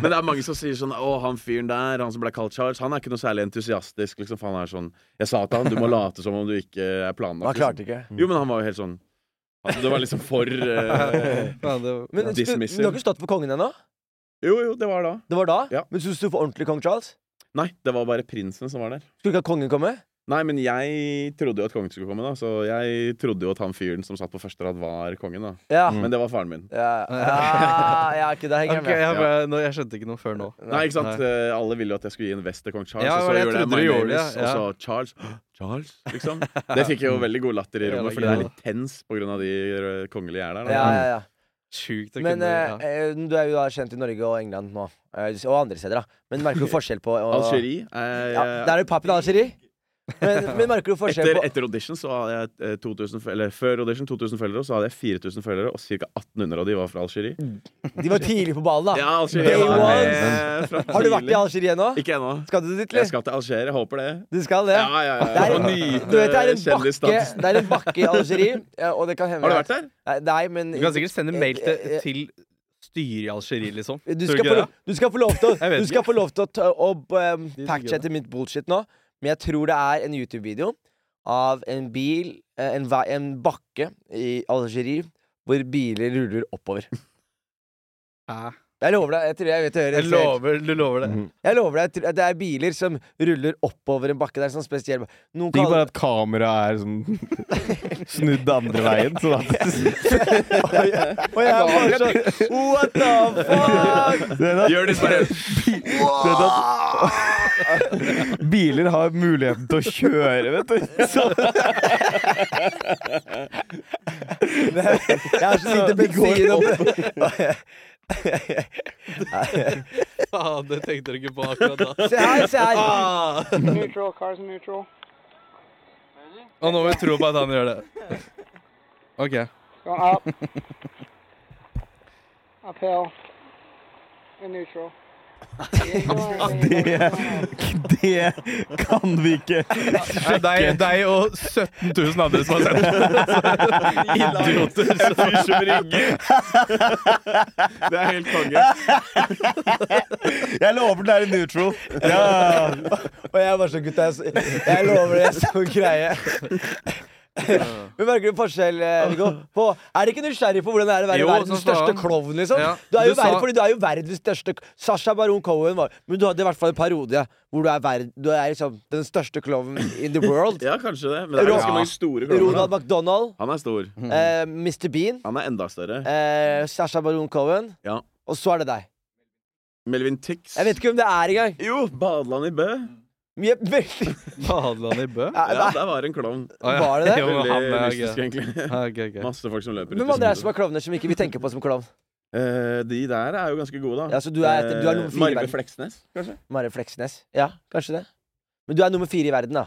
Speaker 6: Men det er mange som sier sånn Å, han fyren der, han som ble kalt Charles, han er ikke noe særlig entusiastisk. Liksom, for han er sånn Jeg sa til han du må late som om du ikke er planlagt. liksom.»
Speaker 1: Han klarte ikke.
Speaker 6: Jo, men han var jo helt sånn altså, Det var liksom for eh,
Speaker 1: Men du, du har
Speaker 6: dismissive.
Speaker 1: ikke stått for kongen ennå?
Speaker 6: Jo, jo, det var da.
Speaker 1: Det var da? Men syns du for ordentlig kong Charles?
Speaker 6: Nei, det var bare prinsen som var der.
Speaker 1: Skulle ikke ha kongen komme?
Speaker 6: Nei, men jeg trodde jo at kongen skulle komme, da. Så jeg trodde jo at han fyren som satt på første rad, var kongen, da.
Speaker 1: Ja.
Speaker 6: Men det var faren min.
Speaker 1: Ja, Ah, ja, ja ikke det henger jeg
Speaker 2: Ok, jeg,
Speaker 1: med.
Speaker 2: bare- nå- jeg skjønte ikke noe før nå.
Speaker 6: Nei, ikke sant? Eh, Alle ville jo at jeg skulle gi en vest til kong Charles,
Speaker 2: Ja, men
Speaker 6: og så
Speaker 2: jeg
Speaker 6: gjorde jeg
Speaker 2: trodde
Speaker 6: My
Speaker 2: du gjorde
Speaker 6: Name Is,
Speaker 2: det, ja.
Speaker 6: og så Charles. «Hå, Charles, liksom. Det fikk jo veldig god latter i
Speaker 2: Ja,
Speaker 6: rommet,
Speaker 2: det
Speaker 6: fordi det er
Speaker 2: gjorde
Speaker 6: litt tens på grunn av de eh, kongelige er der. da.
Speaker 1: Ja, ja, ja.
Speaker 2: Sjukt å
Speaker 1: Men
Speaker 2: kunne ja.
Speaker 1: eh, eh, du er jo da kjent i Norge og England nå. eh, Og andre steder, da. Men merker du forskjell på og,
Speaker 6: Algerie er-
Speaker 1: Ja, der er det pappen Algerie. Men, men merker du forskjell
Speaker 6: etter,
Speaker 1: på
Speaker 6: Etter audition så hadde jeg eh, 2000, f- eller Før audition 2000 følgere, og så hadde jeg 4000 følgere, og ca. 1800 av de var fra Algerie.
Speaker 1: De var tidlig på ballen, da.
Speaker 6: Ja, Algerie
Speaker 1: Day
Speaker 6: var
Speaker 1: one.
Speaker 6: med fra
Speaker 1: Har du vært i
Speaker 6: tidlig.
Speaker 1: Algerie ennå?
Speaker 6: Ikke ennå.
Speaker 1: Skal du dit, eller?
Speaker 6: Jeg skal til Algerie. jeg Håper det.
Speaker 1: Du skal det?
Speaker 6: Ja, ja, ja.
Speaker 1: Det er,
Speaker 6: Og nyte
Speaker 1: du vet, det er en bakke,
Speaker 6: kjendisdansen.
Speaker 1: det er en bakke i Algerie, ja, og det kan hende
Speaker 2: Har du
Speaker 1: jeg-
Speaker 2: vært der?
Speaker 1: Nei, Nei, men
Speaker 2: Du kan sikkert sende mail til,
Speaker 1: Eh, eh,
Speaker 2: til styret i Algerie, liksom.
Speaker 1: Du
Speaker 2: Tror
Speaker 1: skal, få,
Speaker 2: ikke det?
Speaker 1: lov- du skal få lov til
Speaker 2: Jeg
Speaker 1: å,
Speaker 2: vet
Speaker 1: du skal
Speaker 2: ikke.
Speaker 1: få lov til å, ta, å um,
Speaker 2: digger
Speaker 1: fact-chatte mitt bullshit nå, men jeg tror det er en YouTube-video av en bil, eh, en, vei, en bakke i Algerie, hvor biler ruller oppover. Jeg lover deg, jeg tror jeg vet å høre.
Speaker 2: Jeg lover, du lover det.
Speaker 1: Jeg lover deg, jeg tror- det er biler som ruller oppover en bakke. Det er sånn spesiell Noen
Speaker 12: Digg bare
Speaker 1: kaller
Speaker 12: at kameraet er sånn snudd andre veien. Sånn at
Speaker 1: Og jeg er bare sånn What the fuck?
Speaker 6: Gjør det bare
Speaker 12: at biler har muligheten til å kjøre, vet du. Sånn.
Speaker 1: Jeg har så lite bensin
Speaker 2: Faen, det tenkte dere ikke på akkurat da.
Speaker 1: Se her, se her.
Speaker 2: Ah.
Speaker 13: Neutral, cars neutral.
Speaker 2: Og nå vil vi tro på at han gjør det. OK.
Speaker 13: Going up. Uphill. And neutral.
Speaker 12: Det, det kan vi ikke
Speaker 2: Det er deg, deg og 17 000 andre som har sendt det. Idioter.
Speaker 6: En fyr som ringer. Det er helt konge.
Speaker 12: Jeg lover den er i neutral. Ja.
Speaker 1: Og jeg bare sånn, gutta, jeg, så- jeg lover det, jeg er sånn greie. Men merker du forskjell, eh, Viggo? På, er det ikke nysgjerrig på hvordan det er å være
Speaker 2: Jo,
Speaker 1: verdens
Speaker 2: så faen.
Speaker 1: største klovn, liksom?
Speaker 2: Ja.
Speaker 1: Du er jo
Speaker 2: Du sa-
Speaker 1: verden, fordi du er jo verdens største Sasha Baron Cohen var Men du hadde i hvert fall en parodie hvor du er, verd, du er liksom den største klovnen in the world.
Speaker 6: Ja, kanskje det. Men det er
Speaker 1: Ro-
Speaker 6: ganske mange store klovner.
Speaker 1: Ronald
Speaker 6: da.
Speaker 1: McDonald,
Speaker 6: Han er stor.
Speaker 1: eh, Mr. Bean,
Speaker 6: Han er enda større.
Speaker 1: eh, Sasha Baron Cohen,
Speaker 6: Ja.
Speaker 1: og så er det deg.
Speaker 6: Melvin Tix.
Speaker 1: Jeg vet ikke hvem det er engang.
Speaker 6: Jo, Badeland i Bø.
Speaker 1: Ja, veldig-
Speaker 2: Badeland i Bø?
Speaker 6: Ja, der var en klovn.
Speaker 2: Å, ja. Var det det? Jo, men
Speaker 6: Veldig
Speaker 2: han er
Speaker 6: mystisk,
Speaker 2: gøy.
Speaker 6: egentlig.
Speaker 2: Ja, gøy, gøy.
Speaker 6: Masse folk som løper
Speaker 1: Hvem andre er det som er klovner som ikke vi tenker på som klovn?
Speaker 6: Eh, de der er jo ganske gode, da.
Speaker 1: Ja, så du er etter- du er nummer
Speaker 6: Eh,
Speaker 1: fire i
Speaker 6: Marve
Speaker 1: verden.
Speaker 6: Fleksnes, kanskje?
Speaker 1: Mari Fleksnes. Ja, kanskje det. Men du er nummer fire i verden, da.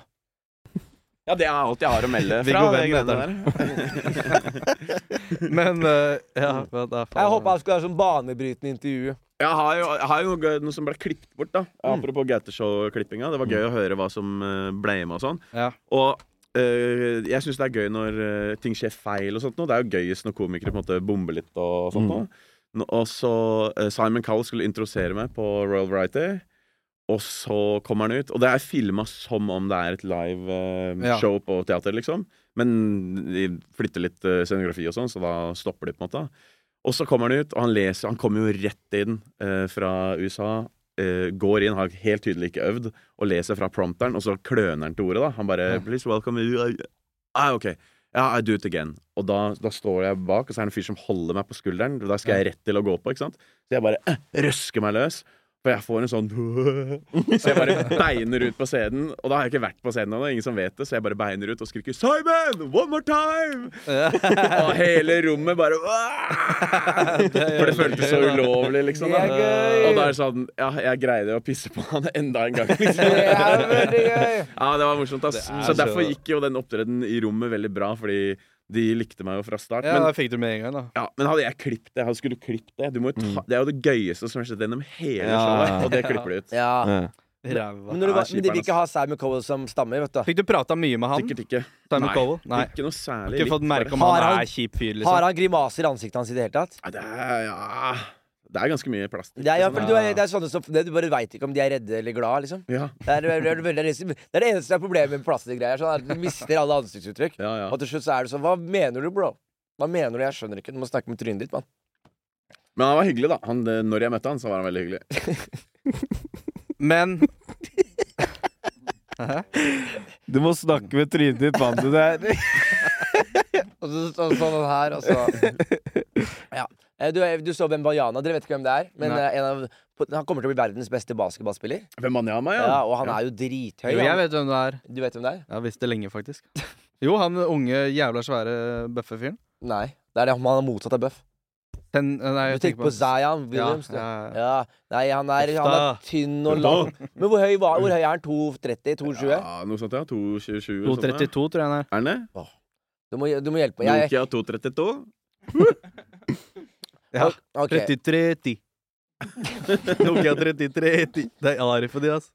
Speaker 6: Ja, det er alt jeg har å melde fra.
Speaker 2: Viggo
Speaker 6: det
Speaker 2: Venn
Speaker 6: greiene der.
Speaker 2: Men eh, ja, men da
Speaker 1: Jeg håpa jeg skulle ha sånn banebrytende intervju.
Speaker 6: Jeg har jo, jeg har jo noe, noe som ble klippet bort, da.
Speaker 12: Mm.
Speaker 6: Apropos Gauteshow-klippinga. Det var gøy å høre hva som eh, ble med og sånn.
Speaker 2: Ja.
Speaker 6: Og eh, jeg syns det er gøy når eh, ting skjer feil og sånt noe. Det er jo gøyest når komikere på en måte bomber litt og sånt
Speaker 12: Mm.
Speaker 6: noe. Nå- Og så eh, Simon Cowell skulle introdusere meg på Royal Variety. Og så kommer han ut, og det er filma som om det er et live eh,
Speaker 12: Ja.
Speaker 6: show på teater, liksom. Men de flytter litt eh, scenografi og sånn, så da stopper de på en måte. Og så kommer han ut, og han leser Han kommer jo rett inn eh, fra USA. eh, går inn, har helt tydelig ikke øvd, og leser fra prompteren, og så kløner han til ordet, da. Han bare
Speaker 12: Ja.
Speaker 6: 'Please welcome you ah, OK. Ja, I do it again. Og da, da står jeg bak, og så er det en fyr som holder meg på skulderen. og Da skal jeg rett til å gå på, ikke sant? Så jeg bare eh, røsker meg løs. For jeg får en sånn Så jeg bare beiner ut på scenen. Og da har jeg ikke vært på scenen ennå, ingen som vet det, så jeg bare beiner ut og skriker 'Simon! One more time!' og hele rommet bare «Åh!» For det føltes så ulovlig, liksom.
Speaker 1: Det
Speaker 6: Da.
Speaker 1: er gøy.
Speaker 6: Og da er det sånn Ja, jeg greide å pisse på han enda en gang, liksom.
Speaker 1: Det er veldig gøy.
Speaker 6: Ja, det var morsomt, ass.
Speaker 2: Det er
Speaker 6: Så
Speaker 2: så-
Speaker 6: derfor gikk jo den opptredenen i rommet veldig bra, fordi de likte meg jo fra start.
Speaker 2: Ja,
Speaker 6: men,
Speaker 2: da fikk du med en gang, da.
Speaker 6: ja, men hadde jeg klippet det, hadde skulle klippet det du må jo
Speaker 2: Mm.
Speaker 6: ta, Det er jo det gøyeste som har skjedd gjennom hele
Speaker 12: Ja.
Speaker 6: showet, og det klipper de ut.
Speaker 1: Ja.
Speaker 2: Ræva.
Speaker 1: Men, når du,
Speaker 6: Ja,
Speaker 1: var- men de vil
Speaker 6: kjiperen,
Speaker 1: ikke ha Simon Cowell som stammer, vet du.
Speaker 2: Fikk du prata mye med han?
Speaker 6: Sikkert ikke.
Speaker 2: Simon
Speaker 6: Nei,
Speaker 2: Cowell? Nei.
Speaker 6: ikke noe særlig
Speaker 2: Ikke fått
Speaker 6: likt,
Speaker 2: merke om
Speaker 6: bare.
Speaker 2: han,
Speaker 6: Har han-
Speaker 2: er kjip fyr, liksom.
Speaker 1: Har han grimaser i ansiktet hans i det hele tatt?
Speaker 6: Nei, det er, ja, det er ganske mye plastikk.
Speaker 1: Det er, ja,
Speaker 6: liksom.
Speaker 1: for du, er, det er sånne som det, Du bare veit ikke om de er redde eller glad, liksom.
Speaker 6: Ja.
Speaker 1: Det, er, det, er, veldig- det er det eneste som er problemet med plastikkgreier. Sånn, at du mister alle ansiktsuttrykk. Og til slutt så er det sånn Hva mener du, bro? Hva mener du? Jeg skjønner ikke. Du må snakke med trynet ditt, mann.
Speaker 6: Men han var hyggelig, da. Han, eh, når jeg møtte han, så var han veldig hyggelig.
Speaker 2: Men
Speaker 12: Du må snakke med trynet ditt, mann. Du der.
Speaker 1: Og så står det sånn her, og så Ja. Eh, Du, du så Bembanyama. Dere vet ikke hvem det er. Men
Speaker 2: Nei.
Speaker 1: eh, en av, han kommer til å bli verdens beste basketballspiller.
Speaker 6: Bembanyama,
Speaker 1: ja. Og han er jo drithøy.
Speaker 2: Jo,
Speaker 1: han.
Speaker 2: jeg vet hvem det er.
Speaker 1: Du vet hvem det er?
Speaker 2: Jeg har visst det lenge, faktisk. Jo, han unge, jævla svære bøffefyren.
Speaker 1: Nei. Det er det om han er motsatt av Bøff.
Speaker 2: Den, eh, nei,
Speaker 1: Du
Speaker 2: jeg
Speaker 1: tenker på Zion Williams? du?
Speaker 2: Ja, ja, ja.
Speaker 1: Ja. Nei, han er, han er
Speaker 2: Hofta.
Speaker 1: tynn og lang. Men hvor høy, var, hvor høy er han? 2,30? 2,20?
Speaker 6: Ja, noe sånt, ja. 2,27.
Speaker 2: 2,32 tror jeg han er.
Speaker 6: Er den det?
Speaker 1: Du, må- du må hjelpe meg. Jeg,
Speaker 6: Nokia 232.
Speaker 2: Ja.
Speaker 1: Ok.
Speaker 2: 3310. Nokia 3310. Det er Arif og de, altså.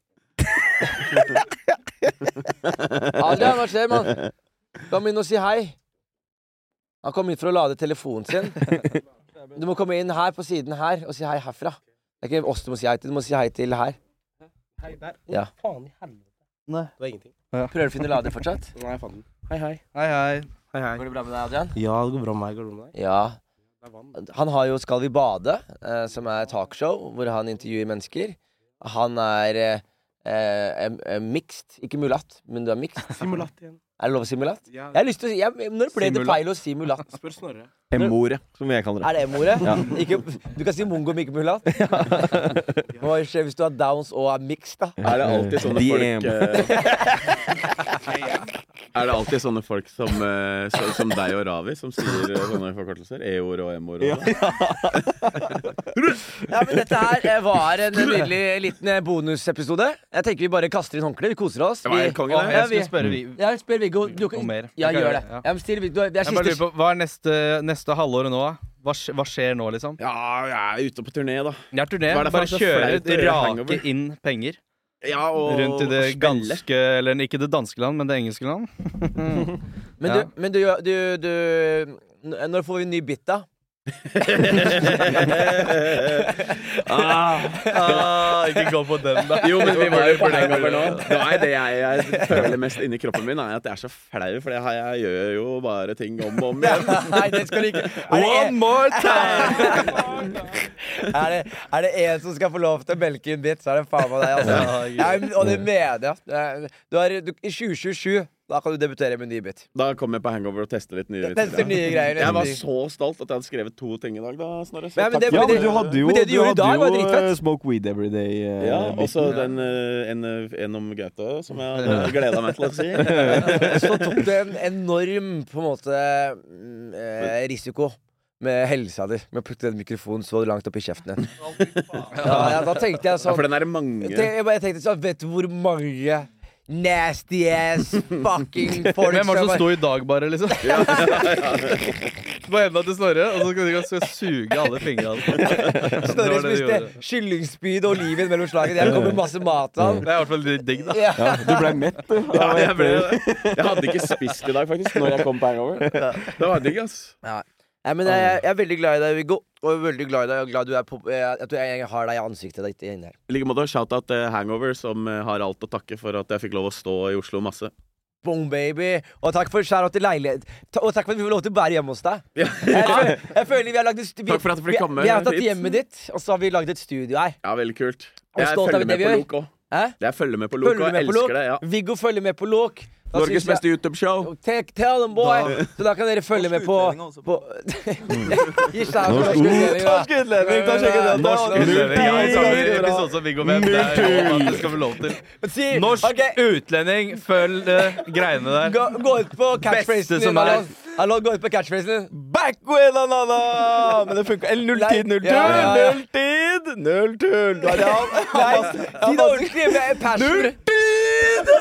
Speaker 1: Adrian, hva skjer, mann? Kom inn og si hei. Han kom inn for å lade telefonen sin. Du må komme inn her på siden her og si hei herfra. Det er ikke oss du må si hei til, du må si hei til her.
Speaker 14: Hei, der. Å,
Speaker 1: Ja.
Speaker 14: faen i helvete.
Speaker 2: Nei.
Speaker 14: Det var ingenting.
Speaker 1: Prøver du å finne lader fortsatt?
Speaker 14: Nei, jeg fant den.
Speaker 1: Hei, hei.
Speaker 2: Hei, hei. Hei, hei.
Speaker 1: Går det bra med deg, Adrian?
Speaker 14: Ja, det går bra med meg. Går det bra med deg?
Speaker 1: Ja. Han har jo Skal vi bade, eh, som er talkshow hvor han intervjuer mennesker. Han er eh, eh, eh, mixed. Ikke mulatt, men du er mixed.
Speaker 14: Simulat igjen.
Speaker 1: Er det lov å si mulatt?
Speaker 14: Ja.
Speaker 1: Jeg har lyst til å si jeg, Når ble det
Speaker 14: Simulat.
Speaker 1: feil å si mulatt?
Speaker 14: Spør Snorre.
Speaker 12: M-ordet, som jeg kaller det.
Speaker 1: Er det M-ordet?
Speaker 12: Ja.
Speaker 1: Ikke- Du kan si mongo, men ikke mulatt. Hva skjer hvis du har downs og er mixed, da?
Speaker 6: Er det alltid sånne
Speaker 12: DM.
Speaker 6: folk eh, Er det alltid sånne folk som, eh, så- som deg og Ravi, som sier eh, sånne forkortelser? E-ord og M-ord? og-
Speaker 1: Ja, men dette her eh, var en nydelig liten eh, bonusepisode. Jeg tenker vi bare kaster inn håndkleet. Vi koser oss.
Speaker 2: Det var helt konge, det.
Speaker 1: Å,
Speaker 2: Jeg skulle
Speaker 1: vi-
Speaker 2: spørre vi-
Speaker 1: Ja, spør Viggo. Du
Speaker 2: Om mer.
Speaker 1: Ja,
Speaker 2: Jeg kan
Speaker 1: gjør det.
Speaker 2: gjøre det,
Speaker 1: Ja.
Speaker 2: ja.
Speaker 1: men still, Viggo, det er
Speaker 2: Jeg bare lurer
Speaker 1: siste
Speaker 2: på, Hva er neste, neste halvåret nå? da? Hva, sk- hva skjer nå, liksom?
Speaker 6: Ja, jeg er ute på turné, da.
Speaker 2: Ja, turné.
Speaker 6: Hva er det for
Speaker 2: Bare
Speaker 6: noe så
Speaker 2: kjøre
Speaker 6: flaut å gjøre hangover?
Speaker 2: rake inn penger.
Speaker 6: Ja, og-
Speaker 2: Rundt i det
Speaker 6: og spille.
Speaker 2: ganske Eller ikke det danske land, men det engelske land.
Speaker 1: Men
Speaker 2: Ja.
Speaker 1: du, men du, du, du n- Når får vi en ny bit, da?
Speaker 6: Ah,
Speaker 2: ah, ikke gå på den, da.
Speaker 6: Jo, men vi var jo på
Speaker 2: Burde-
Speaker 6: hangover nå. Nei, det jeg, jeg føler mest inni kroppen min, er at jeg er så flau, for jeg, jeg gjør jo bare ting om og om igjen.
Speaker 1: Nei, det skal du ikke.
Speaker 6: One more
Speaker 1: Er det, er det en som skal få lov til å melke en bit, så er det faen meg deg. Altså.
Speaker 6: Ja.
Speaker 1: Jeg, og det mener jeg. altså. Det er- Du er, du, I 2027 da kan du debutere med en ny bit.
Speaker 6: Da kom jeg på hangover og tester litt nye
Speaker 1: Tester
Speaker 6: vitser,
Speaker 1: nye
Speaker 6: ja.
Speaker 1: greier,
Speaker 6: Jeg var
Speaker 1: liksom.
Speaker 6: så stolt at jeg hadde skrevet to ting i dag, da, Snorre. Så
Speaker 1: Nei, men
Speaker 6: takk
Speaker 1: det-
Speaker 6: for
Speaker 12: Ja,
Speaker 6: det.
Speaker 12: men du hadde jo,
Speaker 1: men det du
Speaker 12: du
Speaker 1: gjorde i
Speaker 12: hadde
Speaker 1: dag var
Speaker 12: jo
Speaker 1: dritfett.
Speaker 12: eh, Smoke Weed Every Day. eh,
Speaker 6: Ja,
Speaker 12: biten.
Speaker 6: også den eh, en, en om Gaute, som jeg hadde gleda meg til å si.
Speaker 1: Så tok du en enorm på en måte mm, eh, risiko med helsa di med å putte den mikrofonen så langt opp i kjeften din. Ja, ja, da tenkte jeg sånn
Speaker 6: Ja, for den er det mange.
Speaker 1: Jeg tenkte- Jeg bare tenkte sånn Vet du hvor mange nasty ass fucking folk
Speaker 2: Hvem var det som
Speaker 1: bare-
Speaker 2: sto i dag, bare, liksom? På enda til Snorre, og så skal de skal suge alle fingrene. Det var
Speaker 1: Snorre
Speaker 2: det de
Speaker 1: spiste
Speaker 2: gjorde.
Speaker 1: kyllingspyd og oliven mellom slagene. Jeg kom med masse mat til han.
Speaker 2: Det er i hvert fall litt digg, da.
Speaker 1: Ja. Ja, du ble
Speaker 12: mett,
Speaker 1: du, av
Speaker 6: Ja, jeg, ble,
Speaker 1: etter-
Speaker 6: jeg hadde ikke spist i dag, faktisk, når jeg kom på hangover. Det var digg, ass.
Speaker 1: Ja. Nei, men jeg, jeg er veldig glad i deg, Viggo. Og jeg er veldig glad i deg. og glad du er på, jeg, jeg, tror jeg, jeg har deg i ansiktet ditt inne her.
Speaker 6: I like måte shout-out til Hangover, som eh, har alt å takke for at jeg fikk lov å stå i Oslo masse.
Speaker 1: Bong, baby. Og takk for skjæra til leilighet. Ta- Og takk for at vi får lov til å være hjemme hos deg. Jeg, føler- jeg føler vi har lagd et stu- vi-
Speaker 6: Takk for at jeg fikk
Speaker 1: vi-
Speaker 6: komme
Speaker 1: Vi har tatt
Speaker 6: hit.
Speaker 1: hjemmet ditt, og så har vi lagd et studio her.
Speaker 6: Ja, veldig kult.
Speaker 1: Og
Speaker 6: Jeg
Speaker 1: stolt av
Speaker 6: følger
Speaker 1: det
Speaker 6: med
Speaker 1: vi
Speaker 6: på
Speaker 1: gjør.
Speaker 6: Lok òg.
Speaker 1: Hæ?
Speaker 6: Jeg følger med på
Speaker 1: Følger
Speaker 6: Lok,
Speaker 1: du
Speaker 6: og
Speaker 1: med
Speaker 6: jeg
Speaker 1: på Lok?
Speaker 6: elsker det. ja
Speaker 1: Viggo følger med på Lok. Da synes
Speaker 6: Norges
Speaker 1: jeg-
Speaker 6: beste YouTube-show.
Speaker 1: Take, tell them, boy!
Speaker 6: Da-
Speaker 1: Så da kan dere følge med på, på Gi seg av
Speaker 12: Norsk
Speaker 1: norsk
Speaker 12: Norsk
Speaker 1: utlending, da.
Speaker 12: utlending, da sjekker vi det.
Speaker 2: Norsk utlending. Ja, i samme episode som Viggo Venn. Det er jo
Speaker 12: Null.
Speaker 2: alt det skal vi lov til.
Speaker 1: Si-
Speaker 2: Norsk
Speaker 1: ok.
Speaker 2: utlending, følg eh, greiene der.
Speaker 1: Gå, gå ut på
Speaker 2: Beste
Speaker 1: catchphrasen
Speaker 2: som
Speaker 1: din.
Speaker 2: er.
Speaker 1: Alon. Alon, gå ut på catchphrasen din.
Speaker 14: Back with another! Men det funka. Eller null tid, null
Speaker 1: Ja,
Speaker 14: tull,
Speaker 1: ja, ja.
Speaker 14: null tid! Null tull! Da er det han.
Speaker 1: Nei, si det ordentlig med passion.
Speaker 14: Null